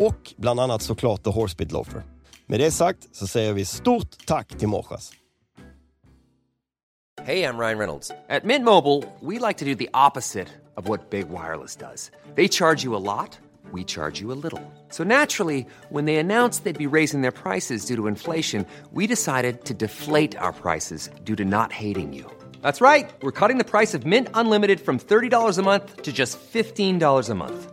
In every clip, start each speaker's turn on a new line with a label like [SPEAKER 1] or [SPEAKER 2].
[SPEAKER 1] Och bland annat såklart The Horsebit Loafer. Med det sagt så säger vi stort tack till Morsas.
[SPEAKER 2] Hey, I'm Ryan Reynolds. At Mint Mobile, we like to do the opposite of what Big Wireless does. They charge you a lot, we charge you a little. So naturally, when they announced they'd be raising their prices due to inflation, we decided to deflate our prices due to not hating you. That's right. We're cutting the price of Mint Unlimited from $30 a month to just $15 a month.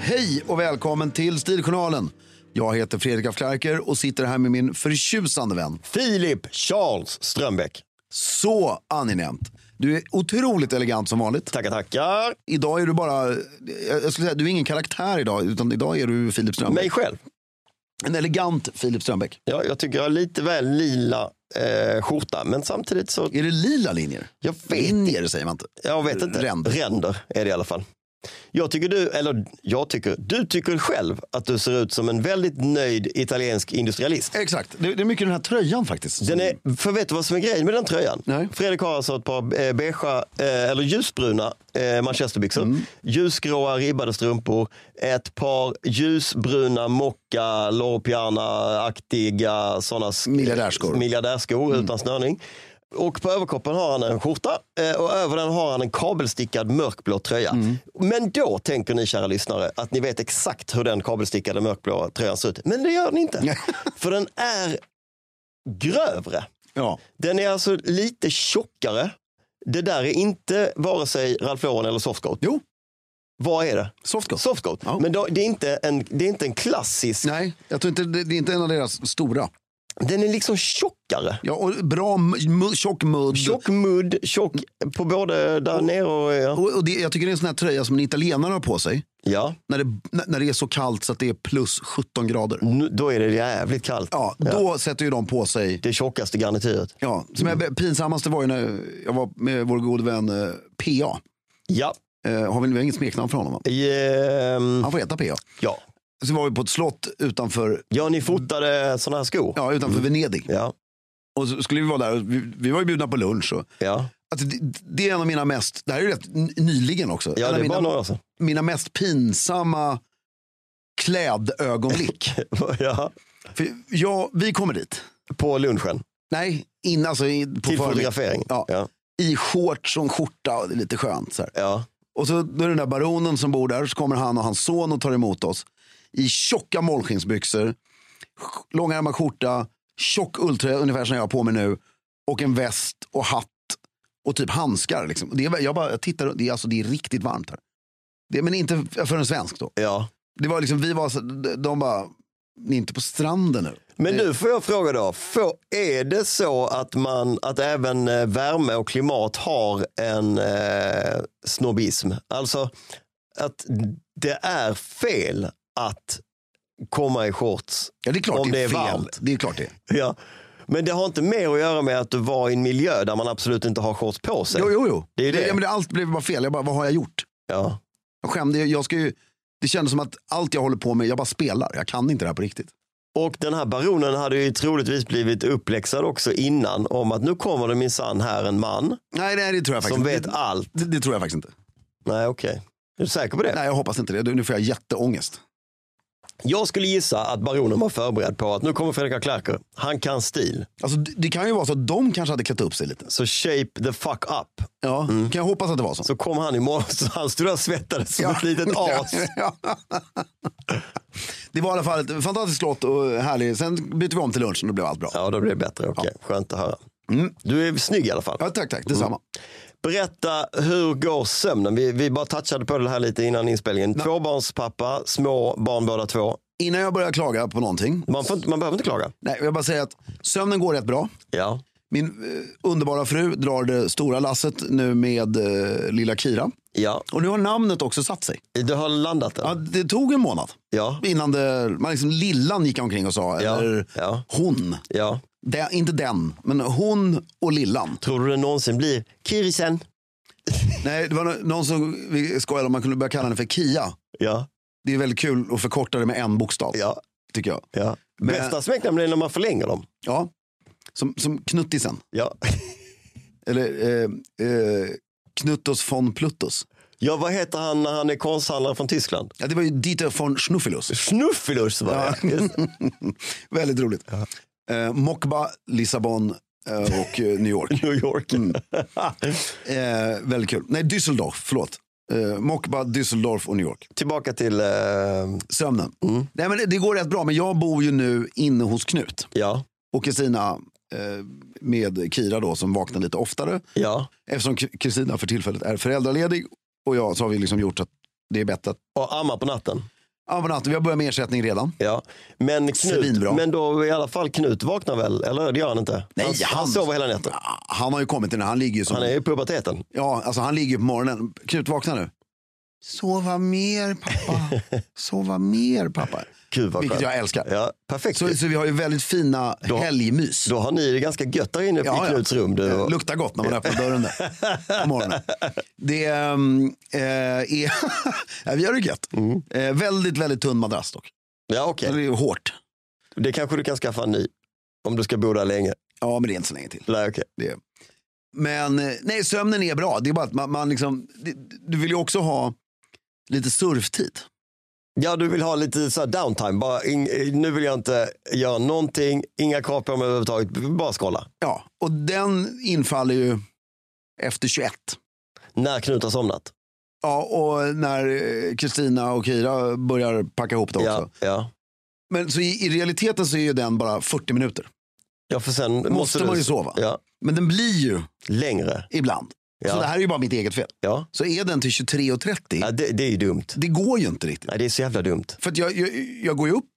[SPEAKER 3] Hej och välkommen till Stiljournalen. Jag heter Fredrik af Klerker och sitter här med min förtjusande vän.
[SPEAKER 1] Filip Charles Strömbäck.
[SPEAKER 3] Så angenämt. Du är otroligt elegant som vanligt.
[SPEAKER 1] Tackar, tackar.
[SPEAKER 3] Idag är du bara, jag jag skulle säga, du är ingen karaktär idag, utan idag är du Filip Strömbäck.
[SPEAKER 1] Mig själv.
[SPEAKER 3] En elegant Filip Strömbäck.
[SPEAKER 1] Ja, jag tycker jag har lite väl lila eh, skjorta, men samtidigt så...
[SPEAKER 3] Är det lila linjer?
[SPEAKER 1] Jag vet
[SPEAKER 3] Linjer säger man inte.
[SPEAKER 1] Jag vet inte.
[SPEAKER 3] Ränder.
[SPEAKER 1] är det i alla fall. Jag tycker du, eller jag tycker, du tycker själv att du ser ut som en väldigt nöjd italiensk industrialist.
[SPEAKER 3] Exakt, det det är mycket den här tröjan faktiskt.
[SPEAKER 1] Den är, för vet du vad som är grejen med den tröjan?
[SPEAKER 3] Nej.
[SPEAKER 1] Fredrik har alltså ett par eh, beigea, eh, eller ljusbruna eh, manchesterbyxor,
[SPEAKER 3] Mm.
[SPEAKER 1] ljusgråa ribbade strumpor, ett par ljusbruna mocka Loro Piana-aktiga sådana sk-
[SPEAKER 3] Miljardärskor.
[SPEAKER 1] miljardärskor
[SPEAKER 3] Mm.
[SPEAKER 1] utan snörning. Och på överkroppen har han en skjorta eh, och över den har han en kabelstickad mörkblå tröja.
[SPEAKER 3] Mm.
[SPEAKER 1] Men då tänker ni kära lyssnare att ni vet exakt hur den kabelstickade mörkblå tröjan ser ut. Men det gör ni inte. För den är grövre.
[SPEAKER 3] Ja.
[SPEAKER 1] Den är alltså lite tjockare. Det där är inte vare sig Ralph Lauren eller softcoat.
[SPEAKER 3] Jo,
[SPEAKER 1] Vad är det?
[SPEAKER 3] softcoat.
[SPEAKER 1] Softcoat.
[SPEAKER 3] Ja.
[SPEAKER 1] Men då, det, är inte en, det är inte en klassisk.
[SPEAKER 3] Nej, jag tror inte, det det är inte en av deras stora.
[SPEAKER 1] Den är liksom tjockare.
[SPEAKER 3] Ja, och bra m- m- tjock mudd.
[SPEAKER 1] Tjock mudd, tjock på både där nere och... Ja.
[SPEAKER 3] Och, och det, jag tycker det är en sån här tröja som en italienare har på sig.
[SPEAKER 1] Ja,
[SPEAKER 4] När det, när- när det är så kallt så att det är plus 17 grader.
[SPEAKER 1] nu, då är det jävligt kallt.
[SPEAKER 4] Ja, då sätter ju de på sig.
[SPEAKER 1] Det tjockaste garnityret.
[SPEAKER 4] Ja, som
[SPEAKER 1] Mm.
[SPEAKER 4] jag, pinsammaste var ju när jag var med vår gode vän eh, PA.
[SPEAKER 1] Ja.
[SPEAKER 4] Eh, har vi, vi har inget smeknamn för honom va?
[SPEAKER 1] Ehm,
[SPEAKER 4] Han får heta PA.
[SPEAKER 1] ja.
[SPEAKER 4] Så var vi på ett slott utanför,
[SPEAKER 1] ja, ni fotade såna här skor.
[SPEAKER 4] ja, utanför
[SPEAKER 1] Mm.
[SPEAKER 4] Venedig.
[SPEAKER 1] Ja.
[SPEAKER 4] Och så skulle vi vara där och vi, vi var ju bjudna på lunch. Och,
[SPEAKER 1] ja.
[SPEAKER 4] alltså, det, det är en av mina mest, det här är ju rätt n- nyligen också.
[SPEAKER 1] Ja,
[SPEAKER 4] en
[SPEAKER 1] det
[SPEAKER 4] av
[SPEAKER 1] är bara
[SPEAKER 4] mina,
[SPEAKER 1] några år sedan.
[SPEAKER 4] mina mest pinsamma klädögonblick.
[SPEAKER 1] ja.
[SPEAKER 4] För jag, vi kommer dit.
[SPEAKER 1] På lunchen.
[SPEAKER 4] Nej, in, alltså, i, på
[SPEAKER 1] Till
[SPEAKER 4] förmiddagen.
[SPEAKER 1] fotografering.
[SPEAKER 4] Ja,
[SPEAKER 1] Ja.
[SPEAKER 4] I shorts och en skjorta, och det är lite skönt. Så här.
[SPEAKER 1] Ja.
[SPEAKER 4] Och så då är det den där baronen som bor där, så kommer han och hans son och tar emot oss. I tjocka målskinnsbyxor, sk- långärmad skjorta, tjock ulltröja, ungefär som jag har på mig nu. Och en väst och hatt och typ handskar. Liksom. Det är, jag bara jag tittar, det är, alltså, det är riktigt varmt här. Det, men inte för en svensk då.
[SPEAKER 1] ja.
[SPEAKER 4] Det var liksom, vi var, så- de- de bara, ni är inte på stranden nu.
[SPEAKER 1] Men nu får jag fråga då, får, är det så att, man, att även eh, värme och klimat har en eh, snobbism? Alltså att det är fel att komma i shorts
[SPEAKER 4] Ja, det är klart
[SPEAKER 1] om
[SPEAKER 4] det är, fel.
[SPEAKER 1] varmt.
[SPEAKER 4] Det är klart det är.
[SPEAKER 1] Ja. Men det har inte mer att göra med att du var i en miljö där man absolut inte har shorts på sig.
[SPEAKER 4] Jo, jo, jo.
[SPEAKER 1] Det är ju det.
[SPEAKER 4] Ja, men det, allt blev bara fel. Jag bara, vad har jag gjort?
[SPEAKER 1] Ja.
[SPEAKER 4] Jag skämde, jag ska ju, det kändes som att allt jag håller på med, jag bara spelar. Jag kan inte det här på riktigt.
[SPEAKER 1] Och den här baronen hade ju troligtvis blivit uppläxad också innan om att nu kommer det minsann här en man
[SPEAKER 4] Nej, nej det tror jag faktiskt
[SPEAKER 1] som
[SPEAKER 4] inte.
[SPEAKER 1] vet allt.
[SPEAKER 4] Det, det tror jag faktiskt inte.
[SPEAKER 1] Nej, okej. Är du säker på det?
[SPEAKER 4] Nej, jag hoppas inte det. Du, Nu får jag jätteångest.
[SPEAKER 1] Jag skulle gissa att baronen var förberedd på att nu kommer Fredrik af Klerker. Han kan stil.
[SPEAKER 4] Alltså, det, det kan ju vara så att de kanske hade klätt upp sig lite.
[SPEAKER 1] Så shape the fuck up.
[SPEAKER 4] Ja, kan jag hoppas att det var så.
[SPEAKER 1] Så kom han imorgon så han stod där och svettades som Mm. ett litet as.
[SPEAKER 4] Ja. det var i alla fall ett fantastiskt slott och härligt. Sen bytte vi om till lunchen och då blev allt bra. Ja, Mm.
[SPEAKER 1] Ja, då blir det bättre. Okej, skönt att höra. Du är snygg i alla fall.
[SPEAKER 4] tack, tack.
[SPEAKER 1] Mm.
[SPEAKER 4] Detsamma.
[SPEAKER 1] Berätta, hur går sömnen? Vi, vi bara touchade på det här lite innan inspelningen. Tvåbarnspappa, små barn båda två.
[SPEAKER 4] Innan jag börjar klaga på någonting.
[SPEAKER 1] Man, får, inte- man behöver inte klaga.
[SPEAKER 4] Nej, jag bara säger att sömnen går rätt bra.
[SPEAKER 1] Ja,
[SPEAKER 4] Min eh, underbara fru drar det stora lasset nu med eh, lilla Kira.
[SPEAKER 1] ja.
[SPEAKER 4] Och nu har namnet också satt sig.
[SPEAKER 1] Du har landat
[SPEAKER 4] Ja,
[SPEAKER 1] den.
[SPEAKER 4] det tog en månad
[SPEAKER 1] Ja,
[SPEAKER 4] innan det, man liksom lillan gick omkring och sa,
[SPEAKER 1] Ja,
[SPEAKER 4] eller
[SPEAKER 1] ja.
[SPEAKER 4] hon.
[SPEAKER 1] ja.
[SPEAKER 4] De, inte den, men hon och lillan.
[SPEAKER 1] Tror du det någonsin blir Kirisen?
[SPEAKER 4] Nej, det var no- någon som vi skojade om man kunde börja kalla henne för Kia.
[SPEAKER 1] Ja,
[SPEAKER 4] Det är väldigt kul att förkorta det med en bokstav,
[SPEAKER 1] ja,
[SPEAKER 4] tycker jag.
[SPEAKER 1] ja.
[SPEAKER 4] Men-
[SPEAKER 1] Bästa smeknamn är när man förlänger dem.
[SPEAKER 4] Ja. Som, som Knuttisen,
[SPEAKER 1] Ja.
[SPEAKER 4] eller eh, eh, Knuttos von Pluttus.
[SPEAKER 1] ja, vad heter han när han är konsthandlare från Tyskland?
[SPEAKER 4] Ja, det var ju Dieter von Schnuffilus.
[SPEAKER 1] Snuffilus var det. Just det.
[SPEAKER 4] Väldigt roligt. Eh, Mokba, Lissabon eh, och eh, New York.
[SPEAKER 1] New York.
[SPEAKER 4] Mm. Eh, väldigt kul. Nej, Düsseldorf, förlåt. Eh, Mokba, Düsseldorf och New York.
[SPEAKER 1] Tillbaka till, eh,
[SPEAKER 4] Sömnen. Nej, men det, det går rätt bra, men jag bor ju nu inne hos Knut
[SPEAKER 1] ja,
[SPEAKER 4] och Kristina eh, med Kira då som vaknar lite oftare.
[SPEAKER 1] ja.
[SPEAKER 4] Eftersom K- Kristina för tillfället är föräldraledig och jag så har vi liksom gjort att det är bättre att
[SPEAKER 1] Och amma på natten.
[SPEAKER 4] ja, men att vi har börjat med ersättning redan.
[SPEAKER 1] Ja. Men, Knut,
[SPEAKER 4] Svinbra.
[SPEAKER 1] men då i alla fall Knut vaknar väl? Eller det gör han inte?
[SPEAKER 4] Nej,
[SPEAKER 1] han,
[SPEAKER 4] han-
[SPEAKER 1] sover hela natten.
[SPEAKER 4] Ah, Han har ju kommit till när han ligger ju som...
[SPEAKER 1] Han är i puberteten.
[SPEAKER 4] Ja, alltså han ligger på morgonen. Knut, vakna nu. Sova mer pappa. Sova mer pappa.
[SPEAKER 1] Gud vad
[SPEAKER 4] Vilket
[SPEAKER 1] skönt.
[SPEAKER 4] jag älskar.
[SPEAKER 1] Ja, perfekt.
[SPEAKER 4] Så, så vi har ju väldigt fina
[SPEAKER 1] Då-
[SPEAKER 4] helgmys.
[SPEAKER 1] Då har ni det ganska gött där inne i Knuts rum. Du.
[SPEAKER 4] Det luktar gott när man öppnar dörren där på morgonen. Det ehm, eh, är... Nej, vi har det gött. Eh, väldigt, väldigt tunn madrass dock.
[SPEAKER 1] Ja, okej.
[SPEAKER 4] Det är hårt.
[SPEAKER 1] Det kanske du kan skaffa en ny. Om du ska bo där länge.
[SPEAKER 4] Ja, men det är inte så länge till.
[SPEAKER 1] Nej, okej.
[SPEAKER 4] Det. Men eh, nej, sömnen är bra. Det är bara att man, man liksom... Det, du vill ju också ha lite surftid.
[SPEAKER 1] Ja, du vill ha lite så här downtime. Bara in, eh, nu vill jag inte göra någonting. Inga krav på mig överhuvudtaget. Bara scrolla.
[SPEAKER 4] Ja, och den infaller ju efter 21.
[SPEAKER 1] När Knut har somnat.
[SPEAKER 4] Ja, och när eh, Kristina och Kira börjar packa ihop det också.
[SPEAKER 1] Ja, ja.
[SPEAKER 4] Men så i, i realiteten så är ju den bara 40 minuter.
[SPEAKER 1] ja, för sen måste,
[SPEAKER 4] Måste
[SPEAKER 1] du,
[SPEAKER 4] man ju sova.
[SPEAKER 1] Ja,
[SPEAKER 4] Men den blir ju
[SPEAKER 1] längre.
[SPEAKER 4] ibland.
[SPEAKER 1] Ja.
[SPEAKER 4] Så det här är ju bara mitt eget fel.
[SPEAKER 1] Ja.
[SPEAKER 4] Så är den till 23.30,
[SPEAKER 1] Ja, det, det är ju dumt.
[SPEAKER 4] det går ju inte riktigt.
[SPEAKER 1] Nej, det är så jävla dumt.
[SPEAKER 4] För att jag, jag, jag går ju upp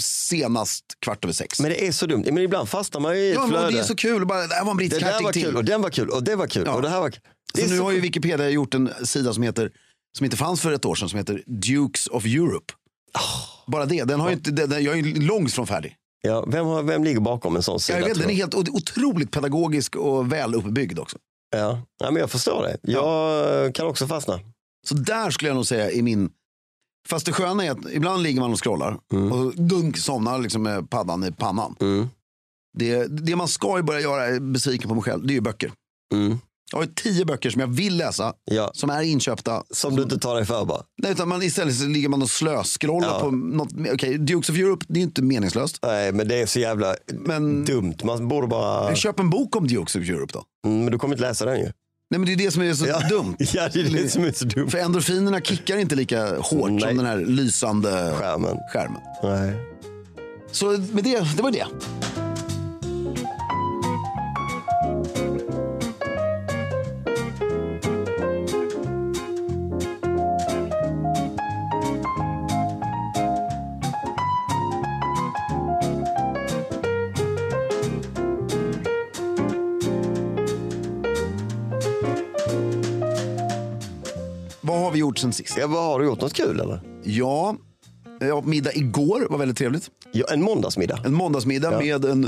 [SPEAKER 4] senast kvart över sex.
[SPEAKER 1] Men det är så dumt. Men ibland fastnar man ju i ett
[SPEAKER 4] ja, men
[SPEAKER 1] flöde.
[SPEAKER 4] och det är så kul, bara, det här var en
[SPEAKER 1] det
[SPEAKER 4] brittisk
[SPEAKER 1] där
[SPEAKER 4] hertig
[SPEAKER 1] var kul
[SPEAKER 4] till.
[SPEAKER 1] och den var kul och det var kul. Och det här var kul. Det
[SPEAKER 4] Så
[SPEAKER 1] är
[SPEAKER 4] nu
[SPEAKER 1] så-
[SPEAKER 4] har ju Wikipedia gjort en sida som heter som inte fanns för ett år sedan som heter Dukes of Europe.
[SPEAKER 1] Oh.
[SPEAKER 4] Bara det, den har ju inte, den, den, jag är ju långt från färdig.
[SPEAKER 1] Ja, vem, har, vem ligger bakom en sån sida?
[SPEAKER 4] Jag vet,
[SPEAKER 1] tror
[SPEAKER 4] den är
[SPEAKER 1] du?
[SPEAKER 4] helt o- otroligt pedagogisk och väl uppbyggd också.
[SPEAKER 1] ja. ja, men jag förstår det. Jag eh, kan också fastna.
[SPEAKER 4] Så där skulle jag nog säga i min... Fast det sköna är att ibland ligger man och scrollar och dunk somnar liksom med paddan i pannan.
[SPEAKER 1] Mm.
[SPEAKER 4] Det, det man ska ju börja göra, jag är besviken på mig själv, det är ju böcker.
[SPEAKER 1] Mm.
[SPEAKER 4] Jag har ju tio böcker som jag vill läsa,
[SPEAKER 1] Ja.
[SPEAKER 4] som är inköpta.
[SPEAKER 1] Som du inte tar dig för bara.
[SPEAKER 4] Nej, utan man, istället så ligger man och slöscrollar
[SPEAKER 1] Ja.
[SPEAKER 4] på något. Okej, Dukes of Europe, det är inte meningslöst.
[SPEAKER 1] Nej, men det är så jävla
[SPEAKER 4] Men
[SPEAKER 1] dumt. Man borde bara...
[SPEAKER 4] köp en bok om Dukes of Europe då.
[SPEAKER 1] Mm, Men du kommer inte läsa den ju.
[SPEAKER 4] Nej, men det är det som är så dumt.
[SPEAKER 1] Ja, det är det som är så dumt.
[SPEAKER 4] För endorfinerna kickar inte lika hårt
[SPEAKER 1] Nej.
[SPEAKER 4] som den här lysande
[SPEAKER 1] Skärmen.
[SPEAKER 4] skärmen.
[SPEAKER 1] Nej.
[SPEAKER 4] Så med det, det var det. Vad har vi gjort sen sist?
[SPEAKER 1] Ja, vad har du gjort något kul eller?
[SPEAKER 4] Ja, jag åt middag igår, var väldigt trevligt.
[SPEAKER 1] Ja, en måndagsmiddag.
[SPEAKER 4] En måndagsmiddag med en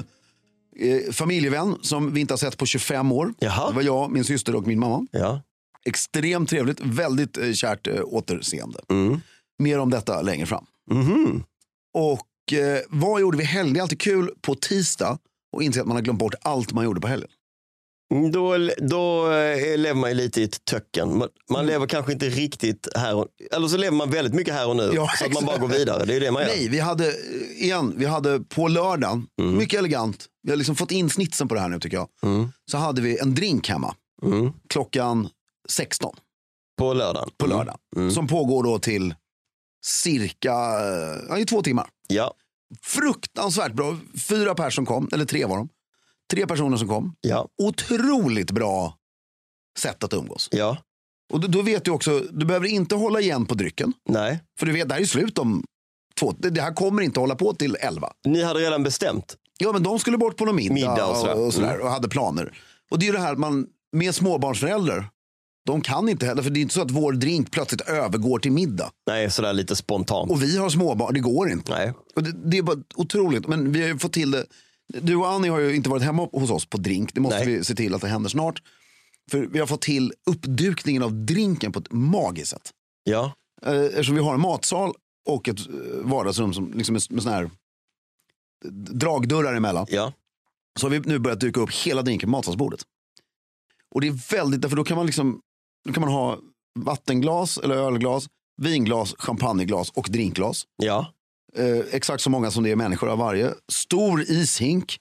[SPEAKER 4] eh, familjevän som vi inte har sett på 25 år.
[SPEAKER 1] Jaha.
[SPEAKER 4] Det var jag, min syster och min mamma.
[SPEAKER 1] Ja.
[SPEAKER 4] Extremt trevligt, väldigt eh, kärt eh, återseende.
[SPEAKER 1] Mm.
[SPEAKER 4] Mer om detta längre fram.
[SPEAKER 1] Mhm.
[SPEAKER 4] Och eh, vad gjorde vi i helgen? Det är alltid kul på tisdag och inse att man har glömt bort allt man gjorde på helgen.
[SPEAKER 1] Mm, Då, då eh, lever man ju lite i ett töcken. Man, man
[SPEAKER 4] Mm.
[SPEAKER 1] lever kanske inte riktigt här och, Eller så lever man väldigt mycket här och nu.
[SPEAKER 4] Ja,
[SPEAKER 1] så att man
[SPEAKER 4] exakt.
[SPEAKER 1] bara går vidare. Det är ju det man gör.
[SPEAKER 4] Nej, vi hade, eh, igen, vi hade på lördagen, mycket elegant, vi har liksom fått in snitsen på det här nu tycker jag.
[SPEAKER 1] Mm.
[SPEAKER 4] Så hade vi en drink hemma
[SPEAKER 1] Mm.
[SPEAKER 4] klockan 16.
[SPEAKER 1] På lördagen.
[SPEAKER 4] på lördag.
[SPEAKER 1] Mm.
[SPEAKER 4] Som pågår då till cirka eh, ja, i två timmar.
[SPEAKER 1] Ja,
[SPEAKER 4] Fruktansvärt bra. Fyra personer som kom, eller tre var de. Tre personer som kom.
[SPEAKER 1] ja,
[SPEAKER 4] Otroligt bra sätt att umgås.
[SPEAKER 1] ja.
[SPEAKER 4] Och då, då vet du också, du behöver inte hålla igen på drycken.
[SPEAKER 1] Nej.
[SPEAKER 4] För du vet, det här är slut om två. Det det här kommer inte hålla på till elva.
[SPEAKER 1] Ni hade redan bestämt.
[SPEAKER 4] Ja, men de skulle bort på någon middag,
[SPEAKER 1] Middag och
[SPEAKER 4] och,
[SPEAKER 1] sådär. Mm.
[SPEAKER 4] och, sådär, och hade planer. Och det är ju det här man, med småbarnsföräldrar, de kan inte heller, för det är inte så att vår drink plötsligt övergår till middag.
[SPEAKER 1] Nej, sådär lite spontant.
[SPEAKER 4] Och vi har småbarn, det går inte.
[SPEAKER 1] Nej.
[SPEAKER 4] Och det, det är bara otroligt, men vi har ju fått till det. Du och Annie har ju inte varit hemma hos oss på drink. Det måste
[SPEAKER 1] Nej.
[SPEAKER 4] vi se till att det händer snart. För vi har fått till uppdukningen av drinken på ett magiskt sätt.
[SPEAKER 1] Ja,
[SPEAKER 4] Eh, Eftersom vi har en matsal och ett eh, vardagsrum som liksom är med sån här eh, dragdörrar emellan.
[SPEAKER 1] ja.
[SPEAKER 4] Så har vi nu börjat duka upp hela drinken på matsalsbordet. Och det är väldigt, därför då kan man liksom, då kan man ha vattenglas eller ölglas, vinglas, champagneglas och drinkglas.
[SPEAKER 1] Ja,
[SPEAKER 4] Eh, exakt så många som det är människor av varje. Stor ishink.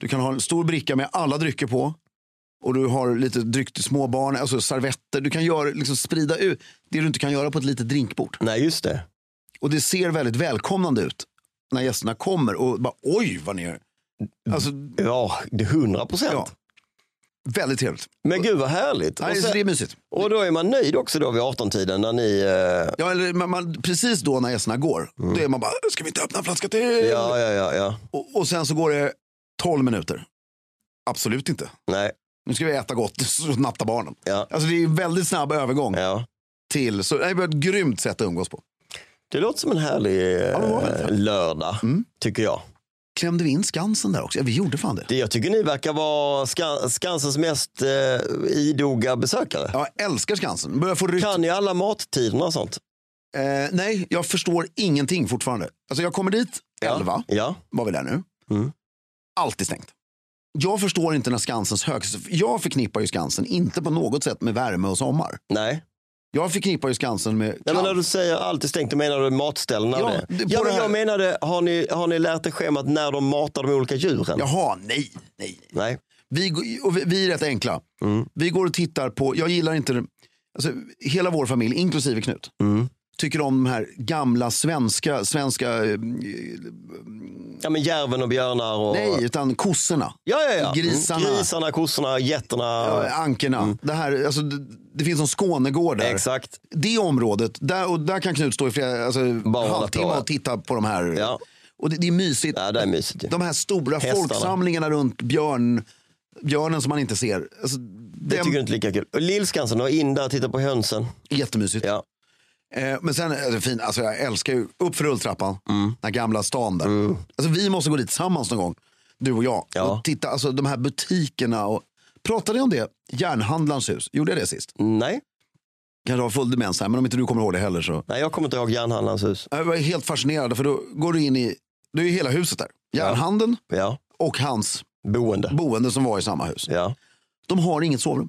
[SPEAKER 4] Du kan ha en stor bricka med alla drycker på. Och du har lite dryck till små barn, alltså servetter. Du kan göra, liksom sprida ut det du inte kan göra på ett litet drinkbord.
[SPEAKER 1] nej just det.
[SPEAKER 4] Och det ser väldigt välkomnande ut när gästerna kommer och bara oj vad ni gör. Alltså,
[SPEAKER 1] Ja, det är hundra
[SPEAKER 4] ja.
[SPEAKER 1] procent.
[SPEAKER 4] Väldigt trevligt.
[SPEAKER 1] Men gud vad härligt.
[SPEAKER 4] Nej,
[SPEAKER 1] Och,
[SPEAKER 4] så det är
[SPEAKER 1] sen,
[SPEAKER 4] mysigt.
[SPEAKER 1] och då är man nöjd också då vid 18-tiden när ni... Eh,
[SPEAKER 4] Ja, eller, man, man, precis då när gästerna går, då är man bara, ska vi inte öppna en flaska till?
[SPEAKER 1] Mm. ja, ja, ja, ja.
[SPEAKER 4] Och, och sen så går det 12 minuter. Absolut inte.
[SPEAKER 1] Nej,
[SPEAKER 4] Nu ska vi äta gott och natta barnen.
[SPEAKER 1] ja,
[SPEAKER 4] Alltså det är en väldigt snabb övergång
[SPEAKER 1] ja.
[SPEAKER 4] till, så det är ett grymt sätt att umgås på.
[SPEAKER 1] Det låter som en härlig eh,
[SPEAKER 4] det var väldigt härligt. Mm.
[SPEAKER 1] lördag, tycker jag.
[SPEAKER 4] Klämde vi in Skansen där också? Ja, vi gjorde fan det.
[SPEAKER 1] Det, jag tycker ni verkar vara Skan- Skansens mest eh, idoga besökare.
[SPEAKER 4] Ja, Jag älskar Skansen. Börjar få rytm.
[SPEAKER 1] Kan ni alla mattiderna och sånt?
[SPEAKER 4] Eh, nej, jag förstår ingenting fortfarande. Alltså jag kommer dit, 11
[SPEAKER 1] Ja,
[SPEAKER 4] var vi där nu.
[SPEAKER 1] Mm.
[SPEAKER 4] Alltid stängt. Jag förstår inte när Skansens högsta... Jag förknippar ju Skansen inte på något sätt med värme och sommar.
[SPEAKER 1] nej.
[SPEAKER 4] Jag förknippar ju Skansen med
[SPEAKER 1] Nej, men när
[SPEAKER 4] kallt.
[SPEAKER 1] du säger alltid stängt, då menar du matställena?
[SPEAKER 4] Ja,
[SPEAKER 1] och det.
[SPEAKER 4] det- på
[SPEAKER 1] ja
[SPEAKER 4] det
[SPEAKER 1] men
[SPEAKER 4] här-
[SPEAKER 1] jag menade, har ni, har ni lärt er schemat när de matar de olika djuren?
[SPEAKER 4] Jaha, nej, nej.
[SPEAKER 1] Nej.
[SPEAKER 4] Vi, går- och vi, vi är rätt enkla.
[SPEAKER 1] Mm.
[SPEAKER 4] Vi går och tittar på, jag gillar inte, alltså, hela vår familj, inklusive Knut,
[SPEAKER 1] Mm.
[SPEAKER 4] tycker om de här gamla svenska, svenska, eh,
[SPEAKER 1] Ja, men järven och björnar och...
[SPEAKER 4] nej, utan kossorna.
[SPEAKER 1] Ja, ja, ja.
[SPEAKER 4] Grisarna.
[SPEAKER 1] Mm, Grisarna, kossorna, getterna.
[SPEAKER 4] eh, Ankorna. Det, här, alltså, det, det finns en Skånegård där.
[SPEAKER 1] Mm. Exakt.
[SPEAKER 4] Det området, där, och där kan Knut stå i flera alltså,
[SPEAKER 1] Bara hålla på,
[SPEAKER 4] halvtimmar
[SPEAKER 1] ja.
[SPEAKER 4] och titta på de här.
[SPEAKER 1] Ja.
[SPEAKER 4] Och det, det är mysigt.
[SPEAKER 1] Ja, det är mysigt ju.
[SPEAKER 4] De här stora
[SPEAKER 1] Hästarna.
[SPEAKER 4] folksamlingarna runt björn, björnen som man inte ser. Alltså,
[SPEAKER 1] Det tycker du inte är lika kul. Och Lillskansen, och in där och titta på hönsen.
[SPEAKER 4] Jättemysigt.
[SPEAKER 1] Ja.
[SPEAKER 4] Eh, men sen, är det fin, alltså jag älskar ju, upp för rulltrappan,
[SPEAKER 1] Mm.
[SPEAKER 4] den här gamla stan där. Alltså vi måste gå dit tillsammans någon gång, du och jag.
[SPEAKER 1] Ja.
[SPEAKER 4] Och titta, alltså de här butikerna och, pratade jag om det? Järnhandlarens hus, gjorde jag det sist?
[SPEAKER 1] Nej,
[SPEAKER 4] Kanske har full demens här, men om inte du kommer ihåg det heller så.
[SPEAKER 1] nej jag kommer inte ihåg järnhandlarens hus.
[SPEAKER 4] Jag var helt fascinerad, för då går du in i, det är ju hela huset där. Järnhandeln
[SPEAKER 1] Ja.
[SPEAKER 4] och hans
[SPEAKER 1] Boende.
[SPEAKER 4] boende som var i samma hus.
[SPEAKER 1] Ja.
[SPEAKER 4] De har inget sovrum.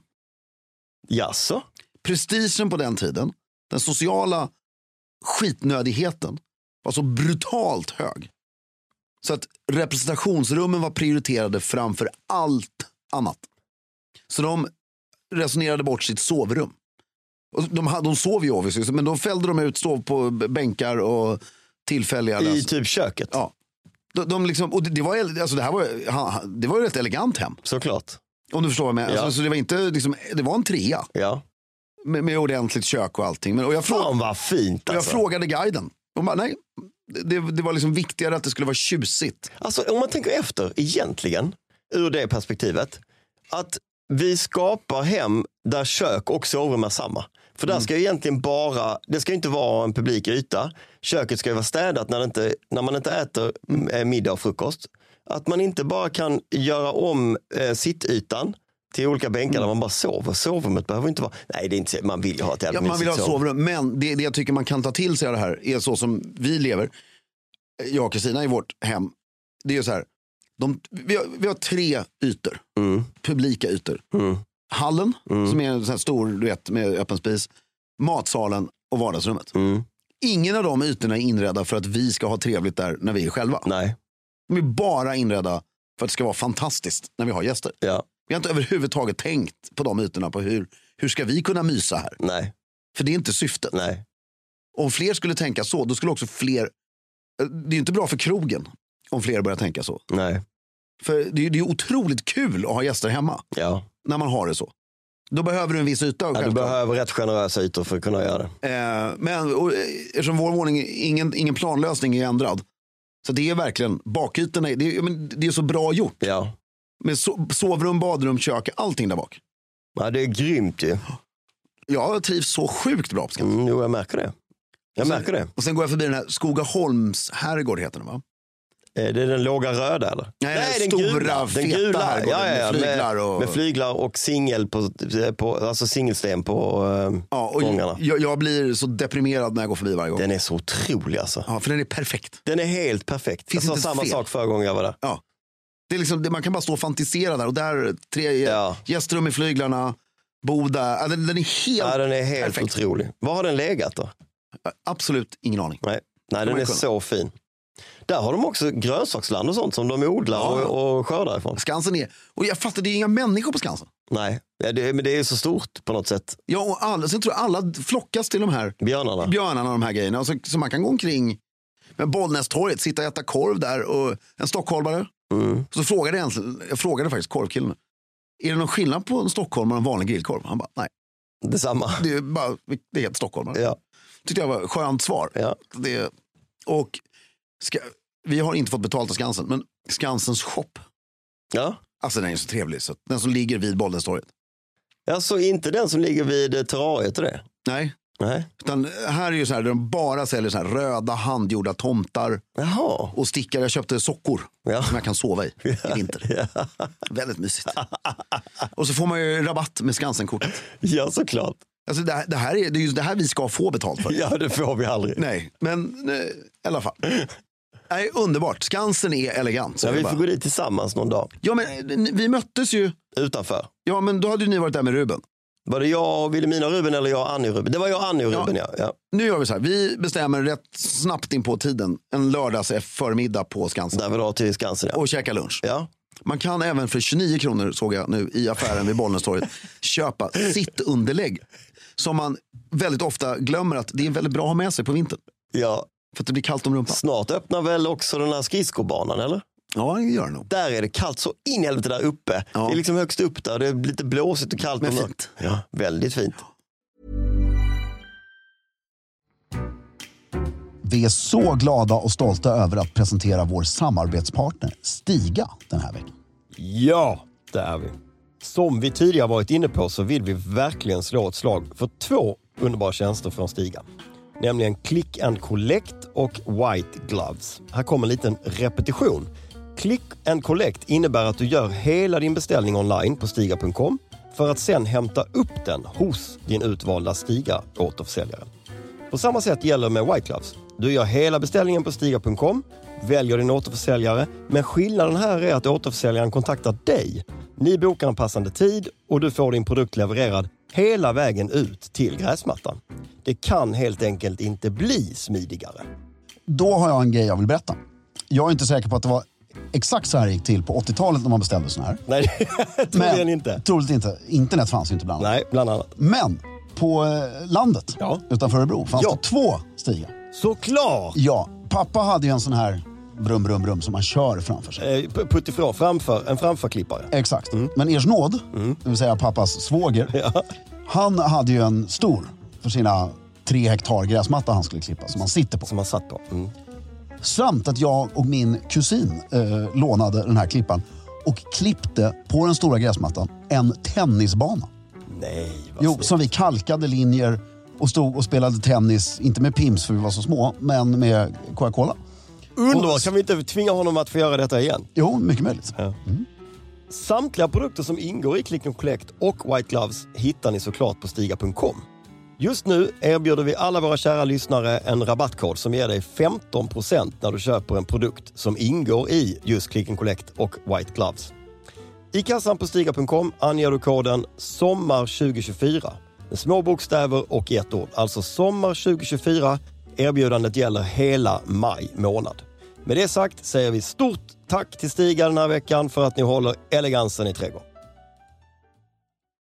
[SPEAKER 1] Jaså?
[SPEAKER 4] prestigen på den tiden, den sociala skitnödigheten var så brutalt hög. Så att representationsrummen var prioriterade framför allt annat. Så de resonerade bort sitt sovrum. Och de, hade- de sov ju obviously, men då fällde de ut, sov på b- bänkar och tillfälliga...
[SPEAKER 1] I
[SPEAKER 4] lös-
[SPEAKER 1] typ köket?
[SPEAKER 4] Ja. De, de liksom, och det, det, var, el- alltså det, här var, ha- ha- det var ju ett elegant hem,
[SPEAKER 1] Såklart.
[SPEAKER 4] om du förstår vad jag menar.
[SPEAKER 1] Ja.
[SPEAKER 4] Alltså, så det, var inte, liksom, det var en trea
[SPEAKER 1] Ja.
[SPEAKER 4] med, med ordentligt kök och allting. Men, och jag, frå-
[SPEAKER 1] Fan vad fint
[SPEAKER 4] jag
[SPEAKER 1] alltså.
[SPEAKER 4] frågade guiden. Hon bara, nej. Det, det var liksom viktigare att det skulle vara tjusigt.
[SPEAKER 1] Alltså om man tänker efter egentligen, ur det perspektivet, att vi skapar hem där kök och sovrum är samma. För
[SPEAKER 4] Mm.
[SPEAKER 1] där ska ju egentligen bara, det ska ju inte vara en publik yta. Köket ska ju vara städat när, det inte, när man inte äter
[SPEAKER 4] Mm.
[SPEAKER 1] eh, middag och frukost. Att man inte bara kan göra om eh, sittytan till olika bänkar där man bara sover. Sovrummet behöver inte vara, nej det är inte, man vill ju ha ett jävla
[SPEAKER 4] Mm. Ja, man vill ha
[SPEAKER 1] mysigt
[SPEAKER 4] sovrum, men det, det jag tycker man kan ta till sig av det här är så som vi lever. Jag och Kristina i vårt hem. Det är ju så här. De, vi, har, vi har tre ytor.
[SPEAKER 1] Mm.
[SPEAKER 4] Publika ytor. Hallen, som är en sån här stor du vet, med öppen spis. Matsalen och vardagsrummet.
[SPEAKER 1] Mm,
[SPEAKER 4] Ingen av de ytorna är inredda för att vi ska ha trevligt där när vi är själva.
[SPEAKER 1] Nej,
[SPEAKER 4] De är bara inredda för att det ska vara fantastiskt när vi har gäster.
[SPEAKER 1] ja,
[SPEAKER 4] Vi har inte överhuvudtaget tänkt på de ytorna på hur, hur ska vi kunna mysa här?
[SPEAKER 1] nej,
[SPEAKER 4] För det är inte syftet.
[SPEAKER 1] nej.
[SPEAKER 4] Om fler skulle tänka så, då skulle också fler... eh, Det är ju inte bra för krogen om fler börjar tänka så.
[SPEAKER 1] Nej,
[SPEAKER 4] För det är ju det är ju otroligt kul att ha gäster hemma
[SPEAKER 1] ja.
[SPEAKER 4] när man har det så. Då behöver du en viss yta.
[SPEAKER 1] ja du
[SPEAKER 4] självklart.
[SPEAKER 1] behöver rätt generösa ytor för att kunna göra det.
[SPEAKER 4] Eh, men och, eh, eftersom vår våning, ingen, ingen planlösning är ändrad. Så det är verkligen bakytorna, är- det är, ja, men det är så bra gjort.
[SPEAKER 1] Ja.
[SPEAKER 4] Med so- sovrum, badrum, kök, allting där bak.
[SPEAKER 1] ja, det är grymt ju.
[SPEAKER 4] Jag trivs så sjukt bra på Skansen.
[SPEAKER 1] Mm, jo, jag märker det. Jag
[SPEAKER 4] Alltså,
[SPEAKER 1] märker det.
[SPEAKER 4] Och sen går jag förbi den här Skogaholms herrgård heter den va?
[SPEAKER 1] Eh, Det är den låga röda eller?
[SPEAKER 4] Nej, den
[SPEAKER 1] den
[SPEAKER 4] stora,
[SPEAKER 1] gula. Den
[SPEAKER 4] feta
[SPEAKER 1] gula.
[SPEAKER 4] herrgården
[SPEAKER 1] Ja, ja, ja,
[SPEAKER 4] med flyglar och-
[SPEAKER 1] med flyglar och singel på, på, alltså singelsten på eh,
[SPEAKER 4] Ja, och
[SPEAKER 1] gångarna.
[SPEAKER 4] jag, jag blir så deprimerad när jag går förbi varje gång.
[SPEAKER 1] Den är så otrolig alltså.
[SPEAKER 4] Ja, för den är perfekt.
[SPEAKER 1] Den är helt perfekt.
[SPEAKER 4] Finns
[SPEAKER 1] jag
[SPEAKER 4] inte
[SPEAKER 1] sa samma
[SPEAKER 4] fel.
[SPEAKER 1] sak förra gången jag var där.
[SPEAKER 4] Ja. Det är liksom, det, man kan bara stå och fantisera där och där, tre
[SPEAKER 1] Ja.
[SPEAKER 4] gästrum med flyglarna, Boda. Ja, den, den är helt,
[SPEAKER 1] Ja, den är helt
[SPEAKER 4] perfekt.
[SPEAKER 1] otrolig. Var har den legat då?
[SPEAKER 4] absolut ingen aning.
[SPEAKER 1] Nej, Nej den
[SPEAKER 4] man
[SPEAKER 1] är
[SPEAKER 4] kunna.
[SPEAKER 1] så fin. Där har de också grönsaksland och sånt som de odlar
[SPEAKER 4] Ja.
[SPEAKER 1] och, och skördar ifrån.
[SPEAKER 4] Skansen är, och jag fattar det är inga människor på Skansen.
[SPEAKER 1] Nej, ja, det, men det är ju så stort på något sätt.
[SPEAKER 4] Ja, och alla, sen tror jag alla flockas till de här
[SPEAKER 1] Björnarna.
[SPEAKER 4] björnarna och de här grejerna. Och så, så man kan gå omkring med Bollnästorget, sitta och äta korv där och en stockholmare.
[SPEAKER 1] Mm.
[SPEAKER 4] Så frågade jag, ens- jag frågade faktiskt korvkillen. Är det någon skillnad på en stockholmare och en vanlig grillkorv? Han bara, nej.
[SPEAKER 1] Detsamma.
[SPEAKER 4] Det är, bara, det är helt stockholmare.
[SPEAKER 1] Ja,
[SPEAKER 4] Tyckte jag var ett skönt svar.
[SPEAKER 1] ja.
[SPEAKER 4] Det, och ska, vi har inte fått betalt av Skansen, men Skansens shop.
[SPEAKER 1] ja.
[SPEAKER 4] Alltså den är så trevlig. Så, att- den som ligger vid Bollnästorget.
[SPEAKER 1] Alltså inte den som ligger vid eh, terrariet och det?
[SPEAKER 4] Nej,
[SPEAKER 1] Nej.
[SPEAKER 4] utan här är ju så här där de bara säljer så här röda handgjorda tomtar
[SPEAKER 1] Jaha.
[SPEAKER 4] och stickar. Jag köpte sockor
[SPEAKER 1] Ja.
[SPEAKER 4] som jag kan sova i i vinter.
[SPEAKER 1] Ja.
[SPEAKER 4] Väldigt mysigt. Och så får man ju rabatt med Skansen-kortet.
[SPEAKER 1] ja, såklart.
[SPEAKER 4] Alltså det, här- det, här är, det är ju det här vi ska få betalt för.
[SPEAKER 1] Ja, det får vi aldrig.
[SPEAKER 4] Nej, men eh, i alla fall. Nej, underbart. Skansen är elegant. Så
[SPEAKER 1] Ja,
[SPEAKER 4] jag
[SPEAKER 1] vi
[SPEAKER 4] bara-
[SPEAKER 1] får gå dit tillsammans någon dag.
[SPEAKER 4] ja, men eh, vi möttes ju.
[SPEAKER 1] Utanför.
[SPEAKER 4] Ja, men då hade ju ni varit där med Ruben.
[SPEAKER 1] Var det jag och Vilhelmina och Ruben eller jag och Annie och Ruben? Det var jag och Annie och
[SPEAKER 4] Ja.
[SPEAKER 1] Ruben, ja. ja.
[SPEAKER 4] Nu gör vi så här. Vi bestämmer rätt snabbt in på tiden en lördags förmiddag på Skansen
[SPEAKER 1] Där vi drar till Skansen, ja.
[SPEAKER 4] och käkar lunch.
[SPEAKER 1] ja.
[SPEAKER 4] Man kan även för 29 kronor, såg jag nu i affären vid Bollnästorget, köpa sitt underlägg som man väldigt ofta glömmer att det är väldigt bra att ha med sig på vintern.
[SPEAKER 1] Ja,
[SPEAKER 4] För att det blir kallt om rumpan.
[SPEAKER 1] snart öppnar väl också den här skridskobanan eller?
[SPEAKER 4] Ja, det gör det nog.
[SPEAKER 1] Där är det kallt så in i helvete där uppe.
[SPEAKER 4] Ja.
[SPEAKER 1] Det är liksom högst upp där. Det är lite blåsigt och kallt.
[SPEAKER 4] Men
[SPEAKER 1] om-
[SPEAKER 4] fint.
[SPEAKER 1] Ja, väldigt fint.
[SPEAKER 5] Vi är så glada och stolta över att presentera vår samarbetspartner Stiga den här veckan.
[SPEAKER 1] Ja, det är vi. Som vi tidigare varit inne på så vill vi verkligen slå ett slag för två underbara tjänster från Stiga. nämligen Click and Collect och White Gloves. Här kommer en liten repetition. Click and Collect innebär att du gör hela din beställning online på Stiga.com för att sen hämta upp den hos din utvalda Stiga återförsäljare. På samma sätt gäller med White Gloves. Du gör hela beställningen på Stiga.com, väljer din återförsäljare, men skillnaden här är att återförsäljaren kontaktar dig. Ni bokar en passande tid och du får din produkt levererad hela vägen ut till gräsmattan. Det kan helt enkelt inte bli smidigare.
[SPEAKER 5] Då har jag en grej jag vill berätta. Jag är inte säker på att det var exakt så här det gick till på 80-talet när man beställde såna här.
[SPEAKER 1] Nej, troligen inte.
[SPEAKER 5] Troligt inte. Internet fanns ju inte bland annat.
[SPEAKER 1] Nej, bland annat.
[SPEAKER 5] Men på eh, landet
[SPEAKER 1] Ja.
[SPEAKER 5] utanför Örebro fanns
[SPEAKER 1] Ja.
[SPEAKER 5] det två stigar.
[SPEAKER 1] Såklart!
[SPEAKER 5] Ja, pappa hade ju en sån här brum, brum, brum som man kör framför sig.
[SPEAKER 1] Eh, p- Puttifrån, framför, en framförklippare.
[SPEAKER 5] Exakt. Men Ers nåd, det vill säga pappas svåger, han hade ju en stor för sina tre hektar gräsmatta han skulle klippa som han sitter på.
[SPEAKER 1] Som man satt på. Mm.
[SPEAKER 5] Samt att jag och min kusin eh, lånade den här klippan och klippte på den stora gräsmattan en tennisbana.
[SPEAKER 1] Nej, vad
[SPEAKER 5] Jo,
[SPEAKER 1] snyggt.
[SPEAKER 5] som vi kalkade linjer och stod och spelade tennis, inte med pims för vi var så små, men med Coca-Cola.
[SPEAKER 1] Underbart! Kan vi inte tvinga honom att få göra detta igen?
[SPEAKER 5] Jo, mycket möjligt.
[SPEAKER 1] Samtliga produkter som ingår i Click and Collect och White Gloves hittar ni såklart på Stiga.com. Just nu erbjuder vi alla våra kära lyssnare en rabattkod som ger dig 15% när du köper en produkt som ingår i just Click and Collect och White Gloves. I kassan på Stiga.com anger du koden SOMMAR2024 med små bokstäver och i ett ord. Alltså SOMMAR2024. Erbjudandet gäller hela maj månad. Med det sagt säger vi stort tack till Stiga den här veckan för att ni håller elegansen i trädgården.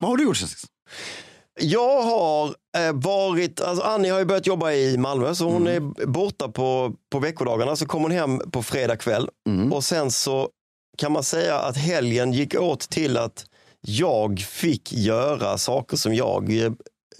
[SPEAKER 4] Vad har du gjort sen sist?
[SPEAKER 1] Jag har eh, varit, alltså Annie har ju börjat jobba i Malmö så hon är borta på, på veckodagarna. Så kommer hon hem på fredag kväll och sen så kan man säga att helgen gick åt till att jag fick göra saker som jag eh,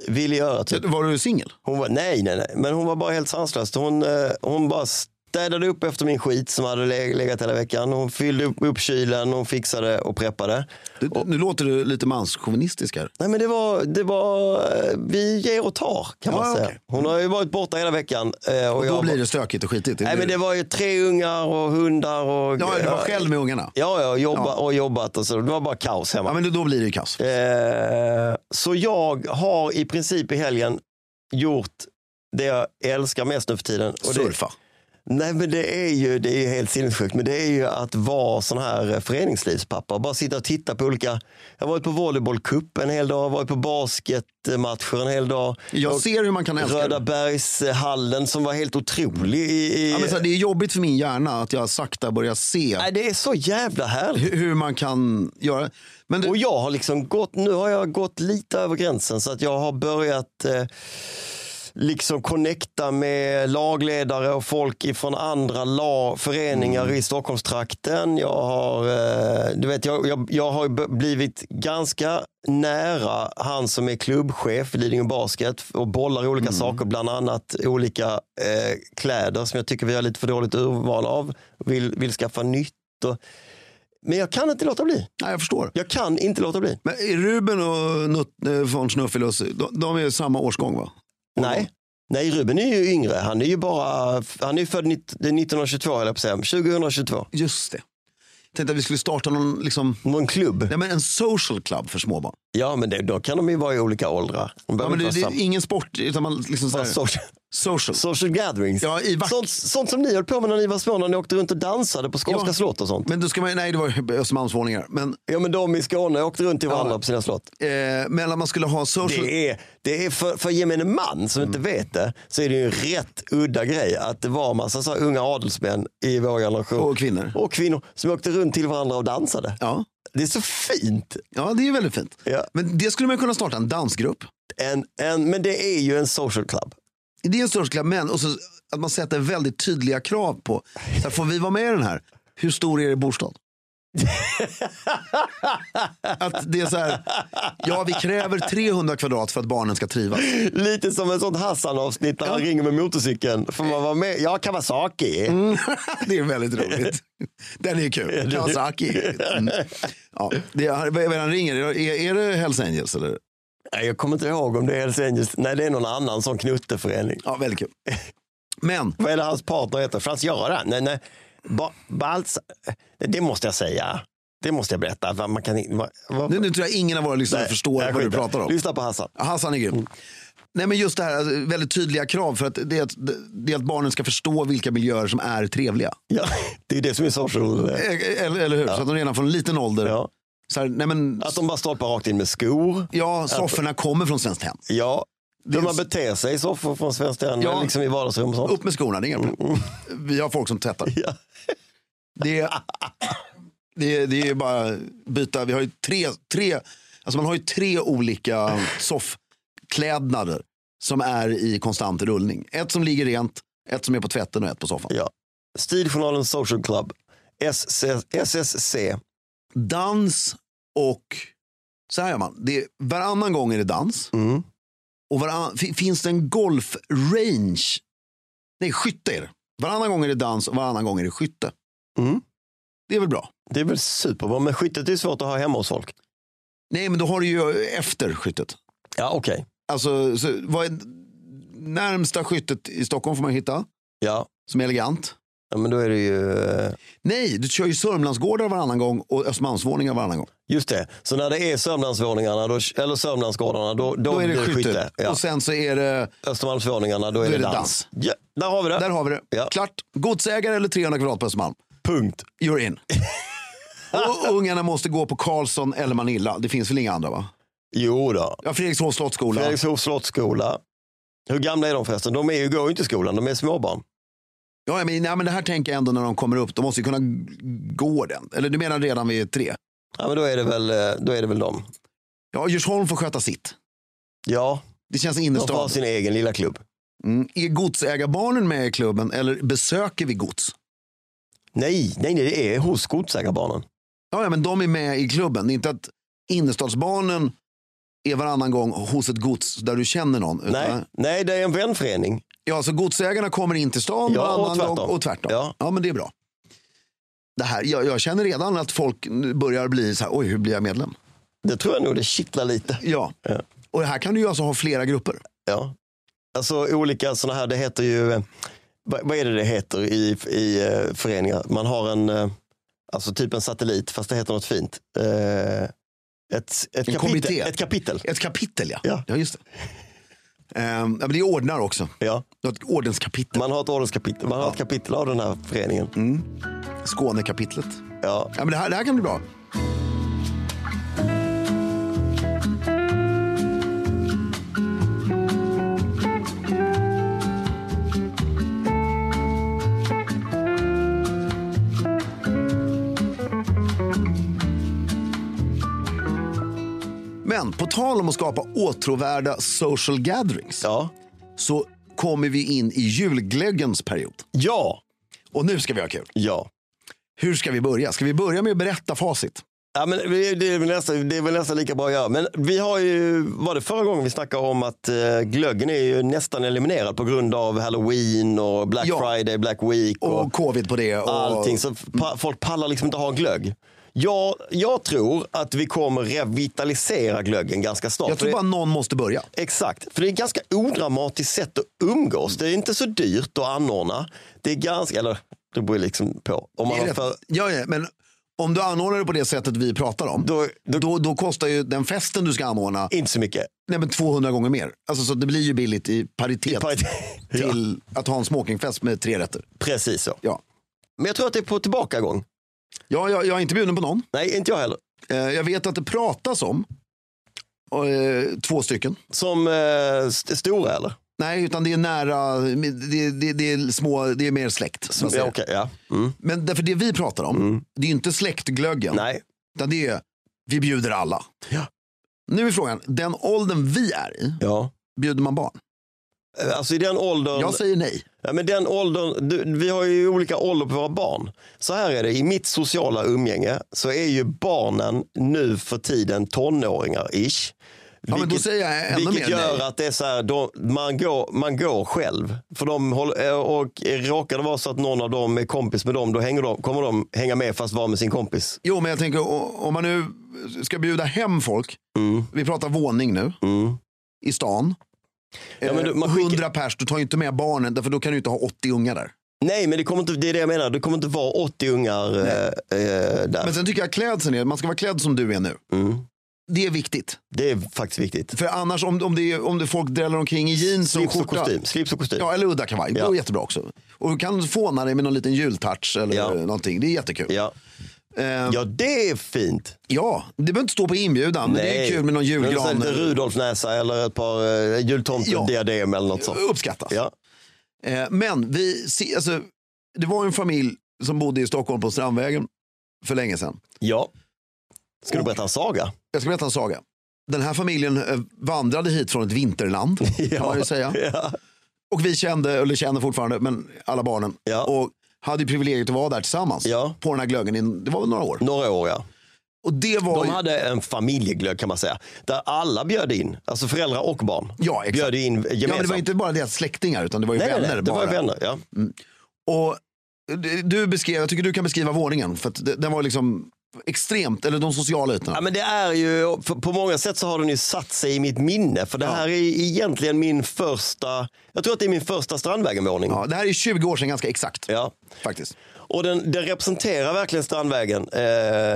[SPEAKER 1] ville göra. Typ.
[SPEAKER 4] Var du singel?
[SPEAKER 1] Hon var, nej, nej, nej, men hon var bara helt sanslös. Hon, eh, hon bara städade upp efter min skit som hade le- legat hela veckan. Hon fyllde upp, upp kylen, hon fixade och preppade.
[SPEAKER 4] Du- Nu låter du lite manschauvinistisk här.
[SPEAKER 1] Nej, men det var, det var, eh, vi ger och tar kan
[SPEAKER 4] Ja,
[SPEAKER 1] man säga.
[SPEAKER 4] okej.
[SPEAKER 1] Hon har ju varit borta hela veckan. eh, Och
[SPEAKER 4] Då
[SPEAKER 1] jag
[SPEAKER 4] blir
[SPEAKER 1] var-
[SPEAKER 4] det stökigt och skitigt.
[SPEAKER 1] Nej, men det var ju tre ungar och hundar. Och,
[SPEAKER 4] Ja, du var själv med ungarna.
[SPEAKER 1] Ja, ja, jobba,
[SPEAKER 4] Ja.
[SPEAKER 1] och jobbat och så. Det var bara kaos hemma.
[SPEAKER 4] Ja, men då- då blir det ju kaos.
[SPEAKER 1] Eh, så jag har i princip i helgen gjort det jag älskar mest nu för tiden. Och det,
[SPEAKER 4] Surfa.
[SPEAKER 1] nej, men det är ju det är ju helt sinnessjukt. Men det är ju att vara sån här eh, föreningslivspappa. Bara sitta och titta på olika... Jag har varit på volleybollcup en hel dag, varit på basketmatcher en hel dag.
[SPEAKER 4] Jag
[SPEAKER 1] Och
[SPEAKER 4] ser hur man kan älska det.
[SPEAKER 1] Röda Bergshallen som var helt otrolig. I, i,
[SPEAKER 4] Ja, men så här, det är jobbigt för min hjärna att jag sakta börjar se
[SPEAKER 1] nej, det är så jävla härligt.
[SPEAKER 4] hu- hur man kan göra. Men
[SPEAKER 1] Och
[SPEAKER 4] du,
[SPEAKER 1] jag har liksom gått, nu har jag gått lite över gränsen så att jag har börjat eh, liksom connecta med lagledare och folk från andra la, föreningar
[SPEAKER 4] Mm.
[SPEAKER 1] i Stockholmstrakten. Jag har, eh, du vet, jag, jag, jag har ju b- blivit ganska nära han som är klubbchef i Lidingö Basket och bollar olika
[SPEAKER 4] Mm.
[SPEAKER 1] saker, bland annat olika eh, kläder som jag tycker vi har lite för dåligt urval av. Vill, vill skaffa nytt. Och, men jag kan inte låta bli.
[SPEAKER 4] nej, jag förstår.
[SPEAKER 1] Jag kan inte låta bli.
[SPEAKER 4] Men Ruben och Nut, eh, von Snuffelus, de, de är samma årsgång va?
[SPEAKER 1] Nej. Nej, Ruben är ju yngre. Han är ju bara, han är ju född nitt- det är 1922, höll jag på att säga. 2022.
[SPEAKER 4] Just det. Tänkte att vi skulle starta någon, liksom,
[SPEAKER 1] Någon klubb.
[SPEAKER 4] nej, men en social club för småbarn.
[SPEAKER 1] Ja, men det, då kan de ju vara i olika åldrar. De
[SPEAKER 4] Ja,
[SPEAKER 1] behöver
[SPEAKER 4] men det,
[SPEAKER 1] inte
[SPEAKER 4] det
[SPEAKER 1] vara
[SPEAKER 4] är ingen sport, utan man liksom så
[SPEAKER 1] samma.
[SPEAKER 4] här,
[SPEAKER 1] Social,
[SPEAKER 4] social.
[SPEAKER 1] social gatherings.
[SPEAKER 4] Ja, i vack-
[SPEAKER 1] sånt, sånt som ni höll på med när ni var små, när ni åkte runt och dansade på skånska
[SPEAKER 4] Ja.
[SPEAKER 1] slott och sånt.
[SPEAKER 4] Men då ska man, nej, det var Östermalmsvåningar. Men,
[SPEAKER 1] Ja, men de i Skåne åkte runt till varandra
[SPEAKER 4] Ja.
[SPEAKER 1] på sina slott.
[SPEAKER 4] eh, men att man skulle ha social...
[SPEAKER 1] Det är, det är för, för gemene man som inte
[SPEAKER 4] Mm.
[SPEAKER 1] vet det, så är det ju en rätt udda grej att det var en massa så här unga adelsmän i vår generation.
[SPEAKER 4] Och kvinnor.
[SPEAKER 1] Och kvinnor som åkte runt till varandra och dansade.
[SPEAKER 4] Ja.
[SPEAKER 1] Det är så fint.
[SPEAKER 4] Ja, det är väldigt fint.
[SPEAKER 1] Ja.
[SPEAKER 4] Men det skulle man kunna starta en dansgrupp.
[SPEAKER 1] En, en, men det är ju en social club.
[SPEAKER 4] Det är en störst klubb, men och så, att man sätter väldigt tydliga krav på. Så här, får vi vara med i den här? Hur stor är er bostad? att det är så här, ja vi kräver 300 kvadrat för att barnen ska trivas.
[SPEAKER 1] Lite som en sånt Hassan-avsnitt där han ringer med motorcykeln. Får man vara med? Jag kan vara Kawasaki.
[SPEAKER 4] Mm. Det är väldigt roligt. Den är kul. Kawasaki. Mm. Ja, det är, vad är det han ringer? Är, är det Hells Angels? Eller?
[SPEAKER 1] Nej, jag kommer inte ihåg om det är Hells Angels. Nej, det är någon annan sån knutteförening.
[SPEAKER 4] Ja, väldigt kul. Men,
[SPEAKER 1] Vad är det hans partner heter? Frans-Göran? Nej, nej. Ba- Balts... Det måste jag säga. Det måste jag berätta. Va- Man kan... in- va- va-
[SPEAKER 4] nu, nu tror jag ingen av våra lyssnare
[SPEAKER 1] Nej,
[SPEAKER 4] förstår
[SPEAKER 1] jag
[SPEAKER 4] vad du
[SPEAKER 1] skiter.
[SPEAKER 4] pratar om.
[SPEAKER 1] Lyssna Mm. på Hassan.
[SPEAKER 4] Hassan är grym. Nej, men just det här alltså, väldigt tydliga krav för att det, är att det är att barnen ska förstå vilka miljöer som är trevliga.
[SPEAKER 1] Ja, det är det som är social... eh,
[SPEAKER 4] Eh, Eller, eller hur? Så att de redan från liten ålder.
[SPEAKER 1] Ja.
[SPEAKER 4] Så här, nej men,
[SPEAKER 1] Att de bara stolpar rakt in med skor.
[SPEAKER 4] ja, sofforna kommer från Svenskt Hem.
[SPEAKER 1] Ja. Hur
[SPEAKER 4] är-
[SPEAKER 1] man beter sig i soffor från Svenskt Tenn,
[SPEAKER 4] Ja.
[SPEAKER 1] liksom i vardagsrum och sånt.
[SPEAKER 4] Upp med skorna, det är inga problem.
[SPEAKER 1] Mm.
[SPEAKER 4] Vi har folk som tvättar.
[SPEAKER 1] Ja.
[SPEAKER 4] Det, är- det, är- det är bara byta. Vi har ju tre, tre, alltså man har ju tre olika soffklädnader som är i konstant rullning. Ett som ligger rent, ett som är på tvätten och ett på soffan.
[SPEAKER 1] Ja. Stiljournalen Social Club, SC, SSC.
[SPEAKER 4] dans och... Så här gör man. Det är, varannan gång är det dans.
[SPEAKER 1] Mm.
[SPEAKER 4] Och varann, fi- finns det en golfrange? Nej, skytte är det. Varannan gång är det dans och varannan gång är det skytte.
[SPEAKER 1] Mm.
[SPEAKER 4] Det är väl bra?
[SPEAKER 1] Det är väl superbra, men skyttet är svårt att ha hemma hos folk.
[SPEAKER 4] Nej, men då har du ju efter skyttet.
[SPEAKER 1] Ja, okej.
[SPEAKER 4] Alltså, så, vad är närmsta skyttet i Stockholm får man hitta,
[SPEAKER 1] Ja.
[SPEAKER 4] som är elegant.
[SPEAKER 1] ja, men då är det ju... eh,
[SPEAKER 4] Nej, du kör ju Sörmlandsgårdar varannan gång och Östermalmsvåningar varannan gång.
[SPEAKER 1] Just det, så när det är Sörmlandsvåningarna, då, eller Sörmlandsgårdarna, då, då,
[SPEAKER 4] Då är det
[SPEAKER 1] blir det
[SPEAKER 4] skyttet.
[SPEAKER 1] skytte. Ja.
[SPEAKER 4] Och sen så är det,
[SPEAKER 1] Östermalmsvåningarna, då är det, dans. Ja, där har vi det.
[SPEAKER 4] där har vi det.
[SPEAKER 1] Ja.
[SPEAKER 4] Klart. Godsägare eller 300 kvadrat på Östermalm.
[SPEAKER 1] Punkt.
[SPEAKER 4] You're in. och ungarna måste gå på Karlsson eller Manilla. Det finns väl inga andra va?
[SPEAKER 1] Jo då.
[SPEAKER 4] Ja, Fredrikshovs slottsskola.
[SPEAKER 1] Fredrikshovs slottsskola. Hur gamla är de förresten? De är ju, går ju inte i skolan, de är småbarn.
[SPEAKER 4] Ja, men, nej, men det här tänker jag ändå när de kommer upp. De måste ju kunna g- gå den. Eller du menar redan vid tre?
[SPEAKER 1] Ja, men då är det väl, eh, då är det väl de.
[SPEAKER 4] Ja, Djursholm får sköta sitt.
[SPEAKER 1] Ja,
[SPEAKER 4] Det känns
[SPEAKER 1] de får ha
[SPEAKER 4] innerstad.
[SPEAKER 1] sin egen lilla klubb.
[SPEAKER 4] Mm. Är godsägarbarnen med i klubben eller besöker vi gods?
[SPEAKER 1] Nej, nej, nej det är hos godsägarbarnen.
[SPEAKER 4] Ja, ja, men de är med i klubben. Det är inte att innerstadsbarnen är varannan gång hos ett gods där du känner någon. utan-
[SPEAKER 1] Nej, nej, det är en vänförening.
[SPEAKER 4] Ja, så godsägarna kommer in till stan
[SPEAKER 1] Ja, och
[SPEAKER 4] varannan
[SPEAKER 1] tvärtom.
[SPEAKER 4] gång och tvärtom. Ja.
[SPEAKER 1] Ja.
[SPEAKER 4] men det är bra. Det här, jag, jag känner redan att folk nu börjar bli så här, oj, hur blir jag medlem?
[SPEAKER 1] Det tror jag nog det kittlar lite.
[SPEAKER 4] Ja.
[SPEAKER 1] Ja.
[SPEAKER 4] Och här kan du ju alltså ha flera grupper.
[SPEAKER 1] Ja. Alltså olika sådana här, det heter ju, eh, vad vad är det det heter i, i eh, föreningar? Man har en, eh, alltså typ en satellit, fast det heter något fint. Eh, ett, ett, kapitel,
[SPEAKER 4] kommitté.
[SPEAKER 1] ett kapitel.
[SPEAKER 4] Ett kapitel, ja.
[SPEAKER 1] Ja.
[SPEAKER 4] just det. Ehm, ja, men det är ordnar också.
[SPEAKER 1] Ja.
[SPEAKER 4] Du har ett ordenskapitel.
[SPEAKER 1] Man har ett ordenskapitel, man har ett kapitel av den här föreningen.
[SPEAKER 4] Mm. Skånekapitlet.
[SPEAKER 1] Ja.
[SPEAKER 4] Ja, men det, här, det här kan bli bra. Men på tal om att skapa åtråvärda social gatherings
[SPEAKER 1] Ja.
[SPEAKER 4] så kommer vi in i julglöggens period.
[SPEAKER 1] Ja.
[SPEAKER 4] Och nu ska vi ha kul.
[SPEAKER 1] Ja.
[SPEAKER 4] Hur ska vi börja? Ska vi börja med att berätta facit?
[SPEAKER 1] Ja, men vi- det, är väl nästan, det är väl nästan lika bra att göra. Men vi har ju, var det förra gången vi snackade om att eh, glöggen är ju nästan eliminerad på grund av halloween och black
[SPEAKER 4] Ja.
[SPEAKER 1] friday, black week. och
[SPEAKER 4] Och covid på det. Och...
[SPEAKER 1] allting. Så pa- folk pallar liksom inte ha glögg. Jag, jag tror att vi kommer revitalisera glöggen ganska snart.
[SPEAKER 4] Jag
[SPEAKER 1] För
[SPEAKER 4] tror
[SPEAKER 1] det,
[SPEAKER 4] bara någon måste börja.
[SPEAKER 1] Exakt, för det är ett ganska odramatiskt sätt att umgås. Det är inte så dyrt att anordna. Det är ganska, eller det beror ju liksom på. Om
[SPEAKER 4] Det
[SPEAKER 1] man
[SPEAKER 4] är
[SPEAKER 1] har
[SPEAKER 4] rätt.
[SPEAKER 1] för,
[SPEAKER 4] Ja, ja, men om du anordnar det på det sättet vi pratar om, då,
[SPEAKER 1] då, då,
[SPEAKER 4] då, kostar ju den festen du ska anordna
[SPEAKER 1] inte så mycket.
[SPEAKER 4] nej, men 200 gånger mer. Alltså, så det blir ju billigt i paritet
[SPEAKER 1] Ja,
[SPEAKER 4] till att ha en smokingfest med tre rätter.
[SPEAKER 1] precis så.
[SPEAKER 4] Ja.
[SPEAKER 1] Men jag tror att det är på tillbakagång.
[SPEAKER 4] Ja, jag, jag är inte bjuden på någon.
[SPEAKER 1] Nej, inte jag heller.
[SPEAKER 4] Eh, jag vet att det pratas om eh, två stycken.
[SPEAKER 1] Som eh, st- stora eller?
[SPEAKER 4] Nej, utan det är nära, det, det, det är små, det är mer släkt. så att säga.
[SPEAKER 1] Ja, okej, ja. Mm.
[SPEAKER 4] Men därför det vi pratar om, det är ju inte släktglöggen.
[SPEAKER 1] Nej,
[SPEAKER 4] Utan det är, vi bjuder alla. Nu är frågan, den åldern vi är i,
[SPEAKER 1] Ja.
[SPEAKER 4] bjuder man barn?
[SPEAKER 1] Eh, Alltså i den åldern...
[SPEAKER 4] Jag säger nej.
[SPEAKER 1] Ja, men den åldern, du, vi har ju olika ålder på våra barn. Så här är det, i mitt sociala umgänge så är ju barnen nu för tiden tonåringar ish.
[SPEAKER 4] Ja, men då säger jag ännu
[SPEAKER 1] vilket
[SPEAKER 4] mer
[SPEAKER 1] gör
[SPEAKER 4] nej.
[SPEAKER 1] att det är så här, då, man, går, man går själv. För de håller, och råkar det vara så att någon av dem är kompis med dem, då hänger de, kommer de hänga med fast vara med sin kompis.
[SPEAKER 4] Jo, men jag tänker o- om man nu ska bjuda hem folk.
[SPEAKER 1] Mm.
[SPEAKER 4] Vi pratar våning nu. I stan.
[SPEAKER 1] Ja, men du, man
[SPEAKER 4] Eh,
[SPEAKER 1] skickar-
[SPEAKER 4] 100 pers, du tar ju inte med barnen. Därför då kan du inte ha 80 ungar där.
[SPEAKER 1] Nej, men det, kommer inte, det är det jag menar. Det kommer inte vara 80 ungar eh, eh, där.
[SPEAKER 4] Men sen tycker jag klädseln är, man ska vara klädd som du är nu.
[SPEAKER 1] Mm.
[SPEAKER 4] Det är viktigt.
[SPEAKER 1] Det är faktiskt viktigt.
[SPEAKER 4] För annars om, om, det, är- om det folk dräller omkring i jeans och
[SPEAKER 1] Slips och
[SPEAKER 4] skjorta.
[SPEAKER 1] kostym. Slips och kostym.
[SPEAKER 4] Ja, eller udda kavaj. Det
[SPEAKER 1] Ja.
[SPEAKER 4] är jättebra också. Och du kan fåna dig med någon liten jultouch eller
[SPEAKER 1] Ja.
[SPEAKER 4] någonting. Det är jättekul.
[SPEAKER 1] Ja.
[SPEAKER 4] Eh,
[SPEAKER 1] ja, det är fint.
[SPEAKER 4] Ja, det behöver inte stå på inbjudan. Men det är kul med någon julgran.
[SPEAKER 1] Men så här, Rudolfnäsa eller ett par eh, jultomtediadem eller något sånt.
[SPEAKER 4] Uppskattas.
[SPEAKER 1] Ja.
[SPEAKER 4] Eh, Men vi, se- alltså, det var en familj som bodde i Stockholm på Strandvägen för länge sedan.
[SPEAKER 1] ja. Ska du berätta en saga?
[SPEAKER 4] Jag ska berätta en saga. Den här familjen eh, vandrade hit från ett vinterland, kan man ju säga.
[SPEAKER 1] Ja.
[SPEAKER 4] Och vi kände, eller känner fortfarande, men alla barnen.
[SPEAKER 1] Ja.
[SPEAKER 4] Och hade ju privilegiet att vara där tillsammans
[SPEAKER 1] Ja.
[SPEAKER 4] på den här glöggen. i- Det var väl några år.
[SPEAKER 1] Några år, ja.
[SPEAKER 4] Och det var
[SPEAKER 1] De
[SPEAKER 4] ju,
[SPEAKER 1] hade en familjeglögg kan man säga. Där alla bjöd in, alltså föräldrar och barn.
[SPEAKER 4] Ja, exakt.
[SPEAKER 1] Bjöd in
[SPEAKER 4] ja, men det
[SPEAKER 1] gemensamt.
[SPEAKER 4] var inte bara deras släktingar, utan det var ju
[SPEAKER 1] nej,
[SPEAKER 4] vänner.
[SPEAKER 1] nej, nej. Det
[SPEAKER 4] bara.
[SPEAKER 1] var ju vänner, ja.
[SPEAKER 4] Och du- du beskrev, jag tycker du kan beskriva våningen. För att det- den var liksom extremt, eller de sociala ytorna.
[SPEAKER 1] Ja, men det är ju, för- på många sätt så har den ju satt sig i mitt minne. För det här är egentligen min första, jag tror att det är min första Strandvägen-våning.
[SPEAKER 4] Ja, det här är 20 år sedan ganska exakt.
[SPEAKER 1] Ja.
[SPEAKER 4] Faktiskt.
[SPEAKER 1] Och den, den representerar verkligen Strandvägen. Eh,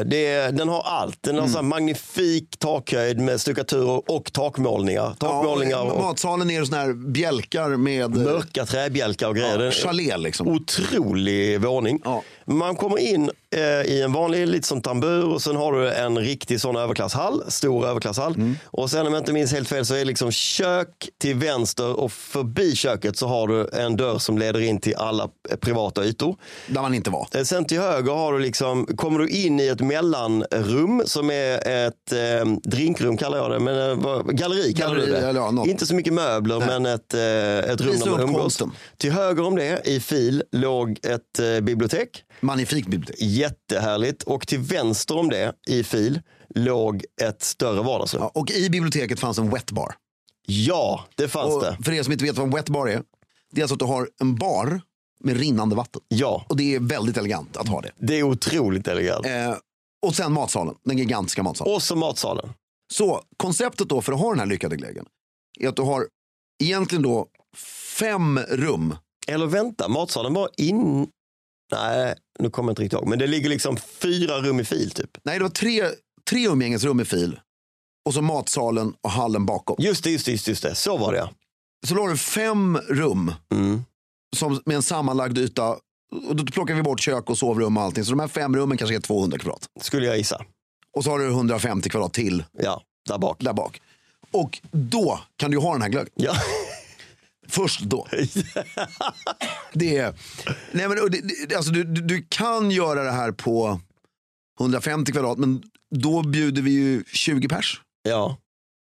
[SPEAKER 1] det, den har allt. Den har så här magnifik takhöjd med stuckaturer och takmålningar. Takmålningar
[SPEAKER 4] Ja,
[SPEAKER 1] och
[SPEAKER 4] matsalen är såna här bjälkar med eh,
[SPEAKER 1] mörka träbjälkar och grejer. Den-
[SPEAKER 4] chalé liksom.
[SPEAKER 1] Otrolig våning.
[SPEAKER 4] Ja.
[SPEAKER 1] Man kommer in eh, i en vanlig, lite som tambur och sen har du en riktig sån överklasshall, stor överklasshall.
[SPEAKER 4] Mm.
[SPEAKER 1] Och sen om jag inte minns helt fel så är det liksom kök till vänster och förbi köket så har du en dörr som leder in till alla eh, privata ytor.
[SPEAKER 4] Där man inte var.
[SPEAKER 1] Eh, Sen till höger har du liksom, kommer du in i ett mellanrum som är ett eh, drinkrum kallar jag det, men eh, vad- galleri kallar
[SPEAKER 4] Galleri,
[SPEAKER 1] du det.
[SPEAKER 4] eller ja, något.
[SPEAKER 1] Inte så mycket möbler men ett, eh, ett rum
[SPEAKER 4] Visa
[SPEAKER 1] där man
[SPEAKER 4] upp
[SPEAKER 1] umgås.
[SPEAKER 4] konsten.
[SPEAKER 1] Till höger om det i fil låg ett eh, bibliotek,
[SPEAKER 4] Magnifikt bibliotek.
[SPEAKER 1] jättehärligt. Och till vänster om det i fil låg ett större vardagsrum. Ja,
[SPEAKER 4] Ja, och i biblioteket fanns en wet bar.
[SPEAKER 1] det fanns
[SPEAKER 4] Och
[SPEAKER 1] det.
[SPEAKER 4] för er som inte vet vad en wet bar är. Det är alltså att du har en bar med rinnande vatten.
[SPEAKER 1] Ja,
[SPEAKER 4] Och det är väldigt elegant att ha det.
[SPEAKER 1] det är otroligt elegant.
[SPEAKER 4] Eh, och sen matsalen, den gigantiska matsalen.
[SPEAKER 1] Och så matsalen.
[SPEAKER 4] Så konceptet då för att ha den här lyckade glöggen är att du har egentligen då fem rum.
[SPEAKER 1] Eller vänta, matsalen var in... Nej, nu kommer jag inte riktigt ihåg. Men det ligger liksom fyra rum i fil typ.
[SPEAKER 4] Nej, det var tre, tre umgängesrum i fil. Och så matsalen och hallen bakom.
[SPEAKER 1] Just det, just det, just det. Just det. Så var det ja.
[SPEAKER 4] Så la du fem rum
[SPEAKER 1] Mm.
[SPEAKER 4] som, med en sammanlagd yta. Och då plockar vi bort kök och sovrum och allting. Så de här fem rummen kanske är 200 kvadrat.
[SPEAKER 1] Skulle jag gissa.
[SPEAKER 4] Och så har du 150 kvadrat till
[SPEAKER 1] Ja, där bak.
[SPEAKER 4] där bak. Och då kan du ju ha den här glöggen.
[SPEAKER 1] Ja.
[SPEAKER 4] Först då. Det är, nej men, och det, det, alltså, du, du, du kan göra det här på 150 kvadrat men då bjuder vi ju 20 pers.
[SPEAKER 1] ja,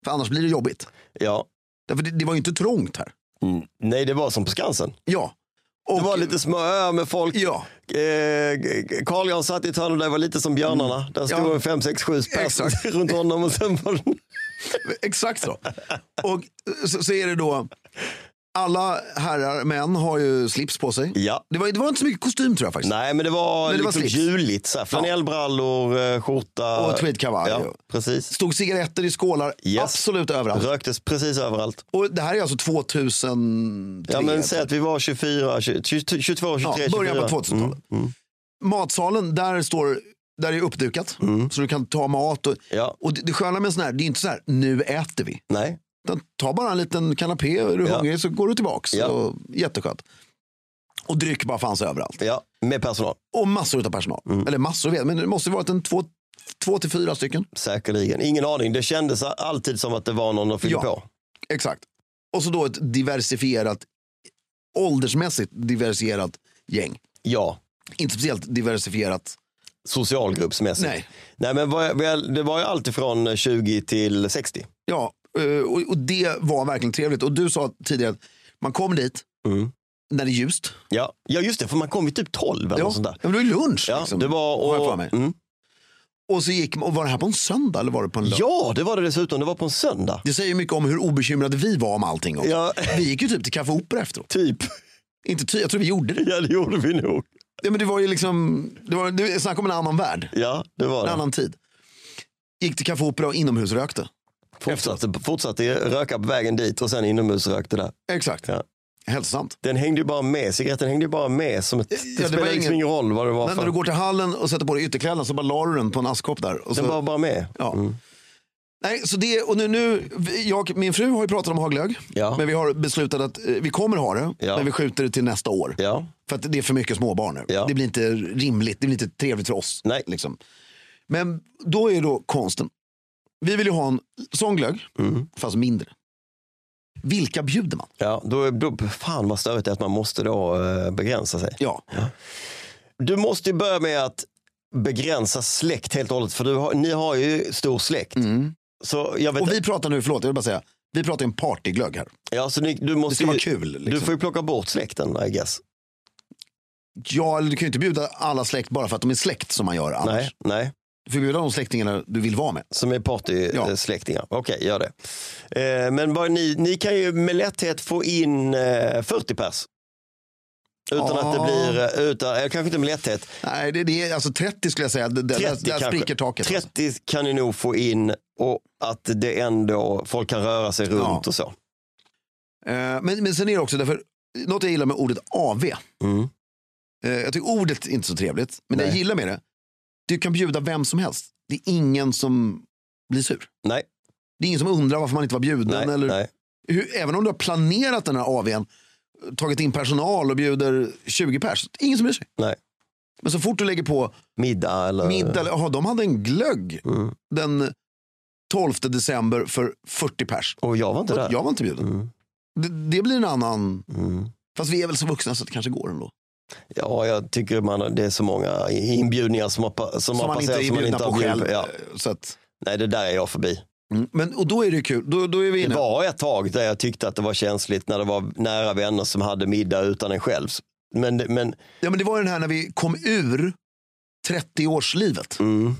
[SPEAKER 4] För annars blir det jobbigt.
[SPEAKER 1] ja.
[SPEAKER 4] Därför det, det var ju inte trångt här.
[SPEAKER 1] Mm. Nej, det var som på Skansen.
[SPEAKER 4] Ja.
[SPEAKER 1] Det
[SPEAKER 4] Och-
[SPEAKER 1] var lite små öar med folk.
[SPEAKER 4] Ja.
[SPEAKER 1] Eh, Carl Jan satt i ett hörn och det var lite som björnarna. Där stod
[SPEAKER 4] Mm. Ja.
[SPEAKER 1] det fem, sex, sju personer
[SPEAKER 4] Exakt.
[SPEAKER 1] runt honom. Och sen var det...
[SPEAKER 4] Exakt så. Och så, så är det då, alla herrar, män har ju slips på sig.
[SPEAKER 1] Ja.
[SPEAKER 4] Det, var, det var inte så mycket kostym tror jag faktiskt.
[SPEAKER 1] Nej, men det var,
[SPEAKER 4] Men det var
[SPEAKER 1] liksom
[SPEAKER 4] slips.
[SPEAKER 1] juligt. Så här. Flanellbrallor, eh, skjorta.
[SPEAKER 4] Och tweedkavaj.
[SPEAKER 1] Ja, precis.
[SPEAKER 4] Stod cigaretter i skålar
[SPEAKER 1] Yes.
[SPEAKER 4] absolut överallt.
[SPEAKER 1] Röktes precis överallt.
[SPEAKER 4] Och det här är alltså 2003.
[SPEAKER 1] Ja, men säg att vi var 24, 20, 22, 23,
[SPEAKER 4] Ja,
[SPEAKER 1] 24.
[SPEAKER 4] början på 2000-talet.
[SPEAKER 1] Mm.
[SPEAKER 4] Matsalen, där står där är uppdukat.
[SPEAKER 1] Mm.
[SPEAKER 4] Så du kan ta mat. Och,
[SPEAKER 1] Ja.
[SPEAKER 4] och det, det sköna med en sån här, det är inte så här, nu äter vi.
[SPEAKER 1] Nej,
[SPEAKER 4] Utan ta bara en liten kanapé, är du
[SPEAKER 1] Ja.
[SPEAKER 4] hungrig så går du tillbaks.
[SPEAKER 1] Ja.
[SPEAKER 4] Och, jätteskönt. Och dryck bara fanns överallt.
[SPEAKER 1] ja, med personal.
[SPEAKER 4] Och massor av personal.
[SPEAKER 1] Mm.
[SPEAKER 4] Eller massor, vet jag, men det måste ju varit en två, två till fyra stycken.
[SPEAKER 1] Säkerligen. Ingen aning. Det kändes alltid som att det var någon de fyllde
[SPEAKER 4] Ja.
[SPEAKER 1] på.
[SPEAKER 4] Exakt. Och så då ett diversifierat, åldersmässigt diversifierat gäng.
[SPEAKER 1] Ja,
[SPEAKER 4] Inte speciellt diversifierat
[SPEAKER 1] socialgruppsmässigt.
[SPEAKER 4] Nej.
[SPEAKER 1] Nej men vad- väl, det var ju alltifrån 20 till 60.
[SPEAKER 4] Ja, eh, och, och det var verkligen trevligt. Och du sa tidigare att man kom dit
[SPEAKER 1] Mm.
[SPEAKER 4] när det är ljust.
[SPEAKER 1] Ja. ja just det, för man kom ju typ 12 eller
[SPEAKER 4] Ja,
[SPEAKER 1] något sånt där.
[SPEAKER 4] men det var ju lunch.
[SPEAKER 1] Ja,
[SPEAKER 4] liksom,
[SPEAKER 1] det var
[SPEAKER 4] har jag för
[SPEAKER 1] och,
[SPEAKER 4] mig.
[SPEAKER 1] mm.
[SPEAKER 4] Och så gick man, och var det här på en söndag eller var det på en lördag?
[SPEAKER 1] Ja, det var det dessutom. Det var på en söndag.
[SPEAKER 4] Det säger mycket om hur obekymrade vi var om allting. Också.
[SPEAKER 1] Ja.
[SPEAKER 4] Vi gick ju typ till Café Opera efteråt.
[SPEAKER 1] Typ.
[SPEAKER 4] Inte ty, jag tror vi gjorde det.
[SPEAKER 1] Ja, det gjorde vi nog.
[SPEAKER 4] Ja, men det var ju liksom, det var, det var, snacka om en annan värld,
[SPEAKER 1] Ja, det var
[SPEAKER 4] en
[SPEAKER 1] det.
[SPEAKER 4] annan tid. Gick till Café Opera och inomhusrökte.
[SPEAKER 1] Fortsatte, fortsatte röka på vägen dit och sen inomhusrökte där.
[SPEAKER 4] Exakt.
[SPEAKER 1] Ja.
[SPEAKER 4] Hälsosamt.
[SPEAKER 1] Den hängde ju bara med, cigaretten hängde ju bara med. Som ett, det,
[SPEAKER 4] var
[SPEAKER 1] spelade liksom
[SPEAKER 4] ingen-
[SPEAKER 1] ingen roll vad det var
[SPEAKER 4] Men
[SPEAKER 1] för.
[SPEAKER 4] när du går till hallen och sätter på dig ytterkläderna så bara la du den på en askkopp där. Och så,
[SPEAKER 1] Den var bara med.
[SPEAKER 4] ja. Nej, så det, och nu, nu, vi- jag, min fru har ju pratat om haglög.
[SPEAKER 1] Ja.
[SPEAKER 4] Men vi har beslutat att eh, vi kommer ha det,
[SPEAKER 1] Ja.
[SPEAKER 4] men vi skjuter det till nästa år.
[SPEAKER 1] Ja.
[SPEAKER 4] För att det är för mycket småbarn nu.
[SPEAKER 1] Ja.
[SPEAKER 4] Det blir inte rimligt, det blir inte trevligt för oss.
[SPEAKER 1] Nej.
[SPEAKER 4] Liksom. Men då är då konsten. Vi vill ju ha en sån glögg,
[SPEAKER 1] Mm.
[SPEAKER 4] fast mindre. Vilka bjuder man?
[SPEAKER 1] Ja, då, då, fan vad störigt det är att man måste då eh, begränsa sig.
[SPEAKER 4] Ja,
[SPEAKER 1] Du måste ju börja med att begränsa släkt helt och hållet. För du har, ni har ju stor släkt. Så jag
[SPEAKER 4] Mm.
[SPEAKER 1] vet
[SPEAKER 4] och vi pratar nu, förlåt, jag vill bara säga. Vi pratar en partyglögg här.
[SPEAKER 1] ja, så ni, du måste
[SPEAKER 4] Det ska
[SPEAKER 1] ju,
[SPEAKER 4] vara kul.
[SPEAKER 1] Du
[SPEAKER 4] Liksom.
[SPEAKER 1] får ju plocka bort släkten, I guess.
[SPEAKER 4] Ja, eller du kan ju inte bjuda alla släkt bara för att de är släkt som man gör annars.
[SPEAKER 1] Nej, nej,
[SPEAKER 4] Du får bjuda de släktingarna du vill vara med.
[SPEAKER 1] som är
[SPEAKER 4] Ja.
[SPEAKER 1] partysläktingar. Okej, gör det. Eh, men vad ni, ni kan ju med lätthet få in eh, 40 pers. Utan
[SPEAKER 4] Ja.
[SPEAKER 1] att det blir, eh, utan, eh, kanske inte med lätthet.
[SPEAKER 4] Nej, det, det är alltså 30 skulle jag säga. Det, det,
[SPEAKER 1] 30
[SPEAKER 4] där, där
[SPEAKER 1] kanske.
[SPEAKER 4] spricker taket. alltså.
[SPEAKER 1] 30 kan ni nog få in och att det ändå, folk kan röra sig runt
[SPEAKER 4] Ja.
[SPEAKER 1] och så.
[SPEAKER 4] Eh, men, men sen är det också därför, något jag gillar med ordet AV.
[SPEAKER 1] Mm.
[SPEAKER 4] Eh, jag tycker ordet är inte så trevligt, men det jag
[SPEAKER 1] Nej.
[SPEAKER 4] gillar med det, du kan bjuda vem som helst. Det är ingen som blir sur.
[SPEAKER 1] Nej,
[SPEAKER 4] Det är ingen som undrar varför man inte var bjuden.
[SPEAKER 1] nej,
[SPEAKER 4] eller
[SPEAKER 1] nej.
[SPEAKER 4] Hur, även om du har planerat den här AWn, tagit in personal och bjuder 20 pers, det är ingen som bryr sig.
[SPEAKER 1] nej.
[SPEAKER 4] Men så fort du lägger på
[SPEAKER 1] Middag eller...
[SPEAKER 4] middag, eller, aha, de hade en glögg
[SPEAKER 1] Mm.
[SPEAKER 4] den 12 december för 40 pers.
[SPEAKER 1] Och jag var inte där.
[SPEAKER 4] Jag var inte bjuden.
[SPEAKER 1] Mm.
[SPEAKER 4] Det, det blir en annan,
[SPEAKER 1] Mm.
[SPEAKER 4] fast vi är väl så vuxna så det kanske går ändå.
[SPEAKER 1] Ja, jag tycker man, det är så många inbjudningar som har, pa- som
[SPEAKER 4] Som
[SPEAKER 1] har
[SPEAKER 4] man inte
[SPEAKER 1] passerat
[SPEAKER 4] är
[SPEAKER 1] som man
[SPEAKER 4] bjudna
[SPEAKER 1] inte
[SPEAKER 4] på
[SPEAKER 1] har
[SPEAKER 4] själv.
[SPEAKER 1] bjudit
[SPEAKER 4] Eh,
[SPEAKER 1] på. Ja.
[SPEAKER 4] Så att,
[SPEAKER 1] Nej, det där är jag förbi.
[SPEAKER 4] Mm, Men, och då är det ju kul. Då, då är vi
[SPEAKER 1] Det
[SPEAKER 4] inne.
[SPEAKER 1] var ett tag där jag tyckte att det var känsligt när det var nära vänner som hade middag utan en själv. Men, det- men
[SPEAKER 4] Ja, men det var ju den här när vi kom ur 30-årslivet.
[SPEAKER 1] mm,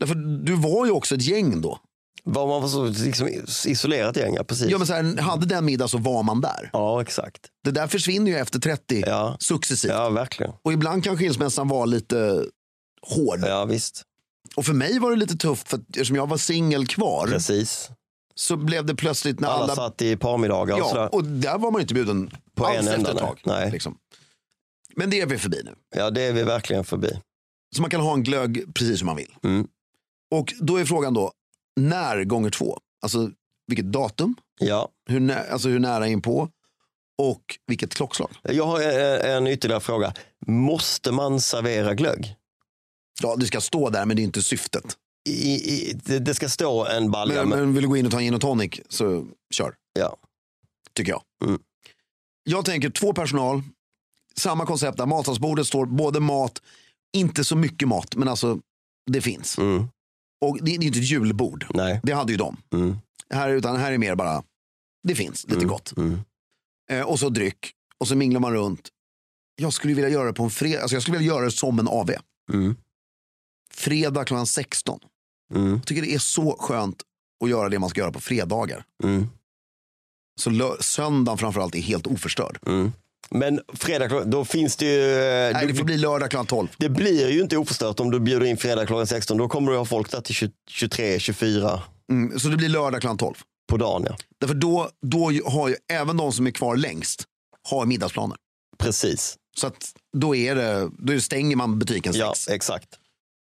[SPEAKER 4] Därför du var ju också ett gäng då.
[SPEAKER 1] var man var så liksom isolerat gäng, ja, precis.
[SPEAKER 4] Ja, men så här, hade den middag så var man där.
[SPEAKER 1] Ja, exakt.
[SPEAKER 4] Det där försvinner ju efter 30
[SPEAKER 1] Ja.
[SPEAKER 4] successivt.
[SPEAKER 1] Ja, verkligen.
[SPEAKER 4] Och ibland kan skilsmässan vara lite hård.
[SPEAKER 1] Ja, visst.
[SPEAKER 4] Och för mig var det lite tufft för att, eftersom jag var singel kvar
[SPEAKER 1] Precis.
[SPEAKER 4] så blev det plötsligt Mm. när alla...
[SPEAKER 1] Alla satt i parmiddagar och
[SPEAKER 4] ja,
[SPEAKER 1] sådär.
[SPEAKER 4] och där var man ju inte bjuden
[SPEAKER 1] På
[SPEAKER 4] alls
[SPEAKER 1] en
[SPEAKER 4] efter
[SPEAKER 1] ända,
[SPEAKER 4] ett
[SPEAKER 1] nej.
[SPEAKER 4] tag.
[SPEAKER 1] Nej.
[SPEAKER 4] Liksom. Men det är vi förbi nu.
[SPEAKER 1] Ja, det är vi verkligen förbi.
[SPEAKER 4] Så man kan ha en glögg precis som man vill.
[SPEAKER 1] Mm.
[SPEAKER 4] Och då är frågan då, när gånger två? Alltså vilket datum,
[SPEAKER 1] Ja.
[SPEAKER 4] hur, nä- alltså, hur nära in på och vilket klockslag?
[SPEAKER 1] Jag har en, en ytterligare fråga. Måste man servera glögg?
[SPEAKER 4] Ja, det ska stå där men det är inte syftet.
[SPEAKER 1] I, i, det, det ska stå en balja.
[SPEAKER 4] Men, men vill du gå in och ta en gin och tonic så kör,
[SPEAKER 1] Ja.
[SPEAKER 4] tycker jag.
[SPEAKER 1] Mm.
[SPEAKER 4] Jag tänker två personal, samma koncept där matsalsbordet står både mat, inte så mycket mat men alltså det finns.
[SPEAKER 1] Mm.
[SPEAKER 4] Och det är inte ett julbord,
[SPEAKER 1] Nej.
[SPEAKER 4] det hade ju de.
[SPEAKER 1] Mm.
[SPEAKER 4] Här, utan här är mer bara, det finns lite
[SPEAKER 1] Mm.
[SPEAKER 4] gott.
[SPEAKER 1] Mm.
[SPEAKER 4] Eh, och så dryck. Och så minglar man runt. Jag skulle vilja göra det på en fredag. Alltså jag skulle vilja göra det som en AV.
[SPEAKER 1] Mm.
[SPEAKER 4] Fredag klockan 16.
[SPEAKER 1] Mm.
[SPEAKER 4] Jag tycker det är så skönt att göra det man ska göra på fredagar.
[SPEAKER 1] Mm.
[SPEAKER 4] Så lö- söndagen framförallt är helt oförstörd.
[SPEAKER 1] Mm. Men fredag, klockan- då finns det ju... eh,
[SPEAKER 4] Nej, det får bli lördag klockan 12.
[SPEAKER 1] det blir ju inte oförstört om du bjuder in fredag klockan 16. Då kommer du ha folk där till 20, 23, 24
[SPEAKER 4] Mm, så det blir lördag klockan 12.
[SPEAKER 1] på dagen. Ja.
[SPEAKER 4] Därför då, då ju- har ju även de som är kvar längst har middagsplaner.
[SPEAKER 1] Precis.
[SPEAKER 4] Så att då, är det, då stänger man butiken
[SPEAKER 1] Ja,
[SPEAKER 4] sex.
[SPEAKER 1] exakt.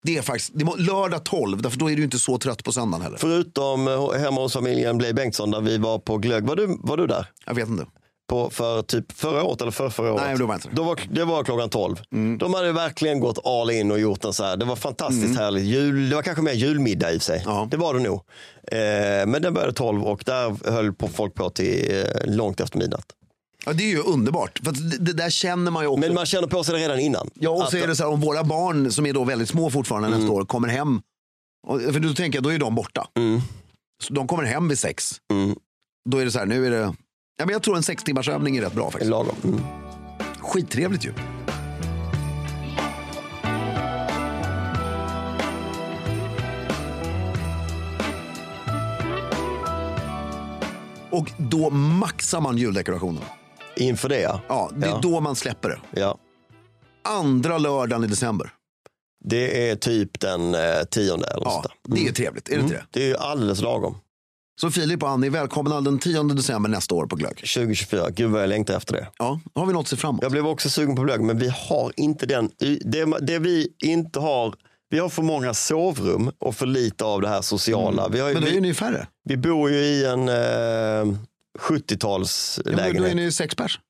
[SPEAKER 4] Det är faktiskt det må, lördag 12, därför då är du inte så trött på söndagen heller.
[SPEAKER 1] Förutom eh, hemma hos familjen Blej Bengtsson där vi var på glögg. Var du, var du där?
[SPEAKER 4] Jag vet inte.
[SPEAKER 1] På, för typ förra året eller för förra året?
[SPEAKER 4] Nej, då var jag inte Mm. det.
[SPEAKER 1] Då var, det var klockan 12. De hade verkligen gått all in och gjort en så här. Det var fantastiskt härligt. Jul, det var kanske mer julmiddag i och för sig.
[SPEAKER 4] Mm. Ja.
[SPEAKER 1] Det var det nog. Eh, men den började 12 och där höll på folk på till eh, långt efter midnatt.
[SPEAKER 4] Ja, det är ju underbart. För att det, det där känner man ju också.
[SPEAKER 1] Men man känner på sig det redan innan.
[SPEAKER 4] Ja, och
[SPEAKER 1] Att- Mm.
[SPEAKER 4] så är det så här, om våra barn som är då väldigt små fortfarande nästa år kommer hem. och- För då tänker jag, då är de borta.
[SPEAKER 1] Mm.
[SPEAKER 4] Så de kommer hem vid sex. Då är det så här, nu är det... Ja, men jag tror en sex timmars övning är rätt bra faktiskt.
[SPEAKER 1] Lagom. Mm.
[SPEAKER 4] Skittrevligt ju. Och då maxar man juldekorationen.
[SPEAKER 1] Inför det ja.
[SPEAKER 4] Ja, det är då man släpper det.
[SPEAKER 1] ja.
[SPEAKER 4] Andra lördagen i december.
[SPEAKER 1] Det är typ den eh, tionde eller
[SPEAKER 4] Ja,
[SPEAKER 1] ja.
[SPEAKER 4] det Mm. är trevligt, är det inte det?
[SPEAKER 1] Det är ju alldeles lagom.
[SPEAKER 4] Så Filip och Annie är välkomna den 10 december nästa år på Glögg.
[SPEAKER 1] 2024, gud vad jag längtar efter det.
[SPEAKER 4] Ja, har vi något att se fram emot?
[SPEAKER 1] Jag blev också sugen på glögg, men vi har inte den. Det, det vi inte har, vi har för många sovrum och för lite av det här sociala. Vi, har, ju-
[SPEAKER 4] Mm. Men då är
[SPEAKER 1] vi,
[SPEAKER 4] ni ju färre.
[SPEAKER 1] vi bor ju i en eh,
[SPEAKER 4] Ja, men Då är
[SPEAKER 1] 70-talslägenhet.
[SPEAKER 4] ni ju sex pers.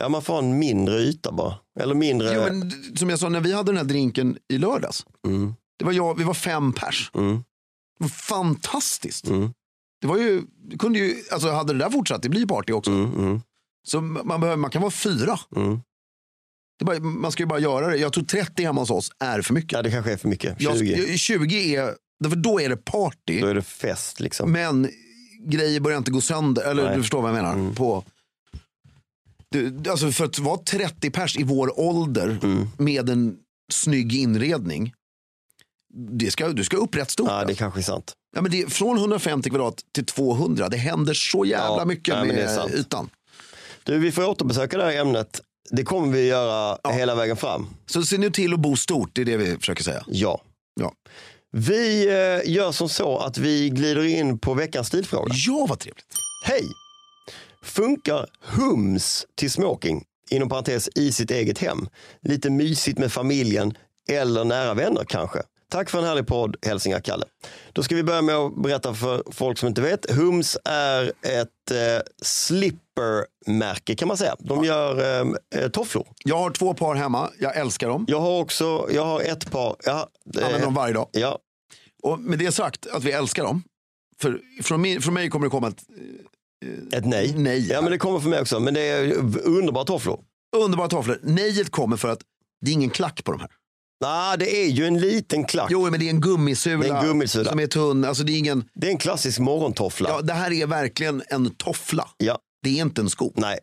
[SPEAKER 1] Ja, man får en mindre yta bara. Eller mindre.
[SPEAKER 4] Jo, men, som jag sa, när vi hade den här drinken i lördags.
[SPEAKER 1] Mm.
[SPEAKER 4] Det var jag, vi var fem pers.
[SPEAKER 1] Mm.
[SPEAKER 4] Det var Fantastiskt.
[SPEAKER 1] Mm.
[SPEAKER 4] Det var ju, det kunde ju, alltså hade det där fortsatt, det blir ju party också.
[SPEAKER 1] Mm, mm,
[SPEAKER 4] Så man, behöver, man kan vara fyra.
[SPEAKER 1] mm.
[SPEAKER 4] Det är bara, man ska ju bara göra det. Jag tror 30 hemma hos oss är för mycket.
[SPEAKER 1] Ja, det kanske är för mycket. 20.
[SPEAKER 4] Jag- 20 är, för då är det party.
[SPEAKER 1] Då är det fest liksom.
[SPEAKER 4] Men grejer börjar inte gå sönder. Eller
[SPEAKER 1] Nej. Mm.
[SPEAKER 4] du förstår vad jag menar. På, du, alltså för att vara 30 pers i vår ålder
[SPEAKER 1] Mm.
[SPEAKER 4] med en snygg inredning. Det ska, du ska upp rätt stort.
[SPEAKER 1] Ja, det
[SPEAKER 4] alltså.
[SPEAKER 1] kanske är sant.
[SPEAKER 4] ja, men det, från 150 kvadrat till 200. Det händer så jävla
[SPEAKER 1] Ja,
[SPEAKER 4] mycket
[SPEAKER 1] nej, men det är sant.
[SPEAKER 4] med ytan.
[SPEAKER 1] Du, vi får återbesöka det här ämnet. Det kommer vi göra hela vägen fram.
[SPEAKER 4] Så se nu till att bo stort. Det är det vi försöker säga.
[SPEAKER 1] Ja.
[SPEAKER 4] Ja,
[SPEAKER 1] Vi eh, gör som så att vi glider in på veckans stilfråga.
[SPEAKER 4] ja vad trevligt.
[SPEAKER 1] Hej! Funkar hums till smoking, inom parentes i sitt eget hem? Lite mysigt med familjen eller nära vänner kanske? Tack för en härlig podd, hälsningar Kalle. Då ska vi börja med att berätta för folk som inte vet. Hums är ett eh, slippermärke kan man säga. De gör eh, eh, tofflor.
[SPEAKER 4] Jag har två par hemma. Jag älskar dem.
[SPEAKER 1] Jag har också, jag har ett par. Jag, har-
[SPEAKER 4] Jag använder dem varje dag.
[SPEAKER 1] ja,
[SPEAKER 4] Och med det sagt att vi älskar dem. För från, min, från mig kommer det komma ett
[SPEAKER 1] ett nej.
[SPEAKER 4] nej.
[SPEAKER 1] Ja, men det kommer för mig också. Men det är underbara tofflor.
[SPEAKER 4] Underbara tofflor. Nejet kommer för att det är ingen klack på de här.
[SPEAKER 1] Nej, det är ju en liten klack.
[SPEAKER 4] Jo, men det är en gummisula,
[SPEAKER 1] Det är en gummisula.
[SPEAKER 4] som är tunn. Alltså, det, är ingen,
[SPEAKER 1] Det är en klassisk morgontoffla.
[SPEAKER 4] ja,
[SPEAKER 1] Ja.
[SPEAKER 4] det här är verkligen en toffla. Det är inte en sko.
[SPEAKER 1] Nej,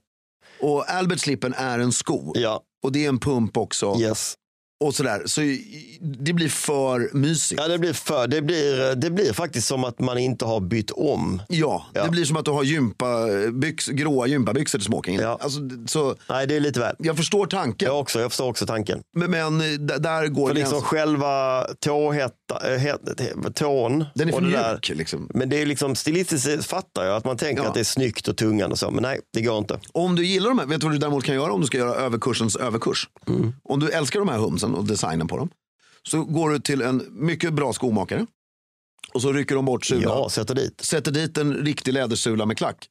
[SPEAKER 4] Och Albert slippen är en sko.
[SPEAKER 1] ja,
[SPEAKER 4] Och det är en pump också.
[SPEAKER 1] yes.
[SPEAKER 4] Och sådär. Så i- det blir för mysigt.
[SPEAKER 1] Ja, det, blir för, det, blir, det blir faktiskt som att man inte har bytt om.
[SPEAKER 4] Ja,
[SPEAKER 1] Ja.
[SPEAKER 4] det blir som att du har gympabyx, gråa gympabyxor till smoking.
[SPEAKER 1] Ja.
[SPEAKER 4] Alltså, d- så,
[SPEAKER 1] Nej, det är lite väl.
[SPEAKER 4] jag förstår tanken,
[SPEAKER 1] Jag, också, jag förstår också tanken.
[SPEAKER 4] men, men eh, d- där går
[SPEAKER 1] För liksom
[SPEAKER 4] gränsen.
[SPEAKER 1] själva tåhetta, äh, het, he- tån.
[SPEAKER 4] Den är för
[SPEAKER 1] och det där.
[SPEAKER 4] mjuk. Liksom.
[SPEAKER 1] Men det är liksom stilistiskt fattar jag att man tänker
[SPEAKER 4] Ja.
[SPEAKER 1] att det är snyggt och tungan och så. Men nej, det går inte.
[SPEAKER 4] Om du gillar de här, vet du vad du däremot kan göra om du ska göra överkursens överkurs?
[SPEAKER 1] Mm.
[SPEAKER 4] Om du älskar de här humsen och designen på dem. Så går du till en mycket bra skomakare. Och så rycker de bort sulan.
[SPEAKER 1] Ja, sätter dit.
[SPEAKER 4] Sätter dit en riktig lädersula med klack.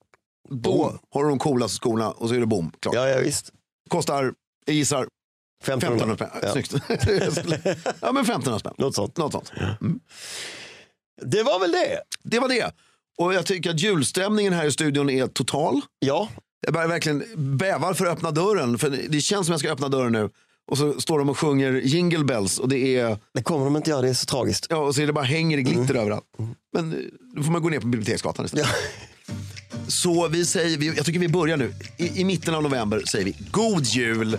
[SPEAKER 4] Då har du de coolaste skorna och så är det bom, klart.
[SPEAKER 1] Ja, ja visst.
[SPEAKER 4] Kostar, jag gissar,
[SPEAKER 1] 1500
[SPEAKER 4] 1500 spänn.
[SPEAKER 1] Ja.
[SPEAKER 4] Snyggt. ja men 1500 spänn.
[SPEAKER 1] Något sånt.
[SPEAKER 4] Något sånt.
[SPEAKER 1] Det var väl det.
[SPEAKER 4] Det var det. Och jag tycker att julstämningen här i studion är total.
[SPEAKER 1] Ja,
[SPEAKER 4] Jag bara verkligen bävar för att öppna dörren. För det känns som jag ska öppna dörren nu. Och så står de och sjunger Jingle Bells och, det är,
[SPEAKER 1] det kommer de inte göra. Det är så tragiskt.
[SPEAKER 4] ja, och så är det bara hänger i glitter överallt. Men eh, då får man gå ner på Biblioteksgatan istället. Så vi säger, vi- jag tycker vi börjar nu. I, I mitten av november säger vi God Jul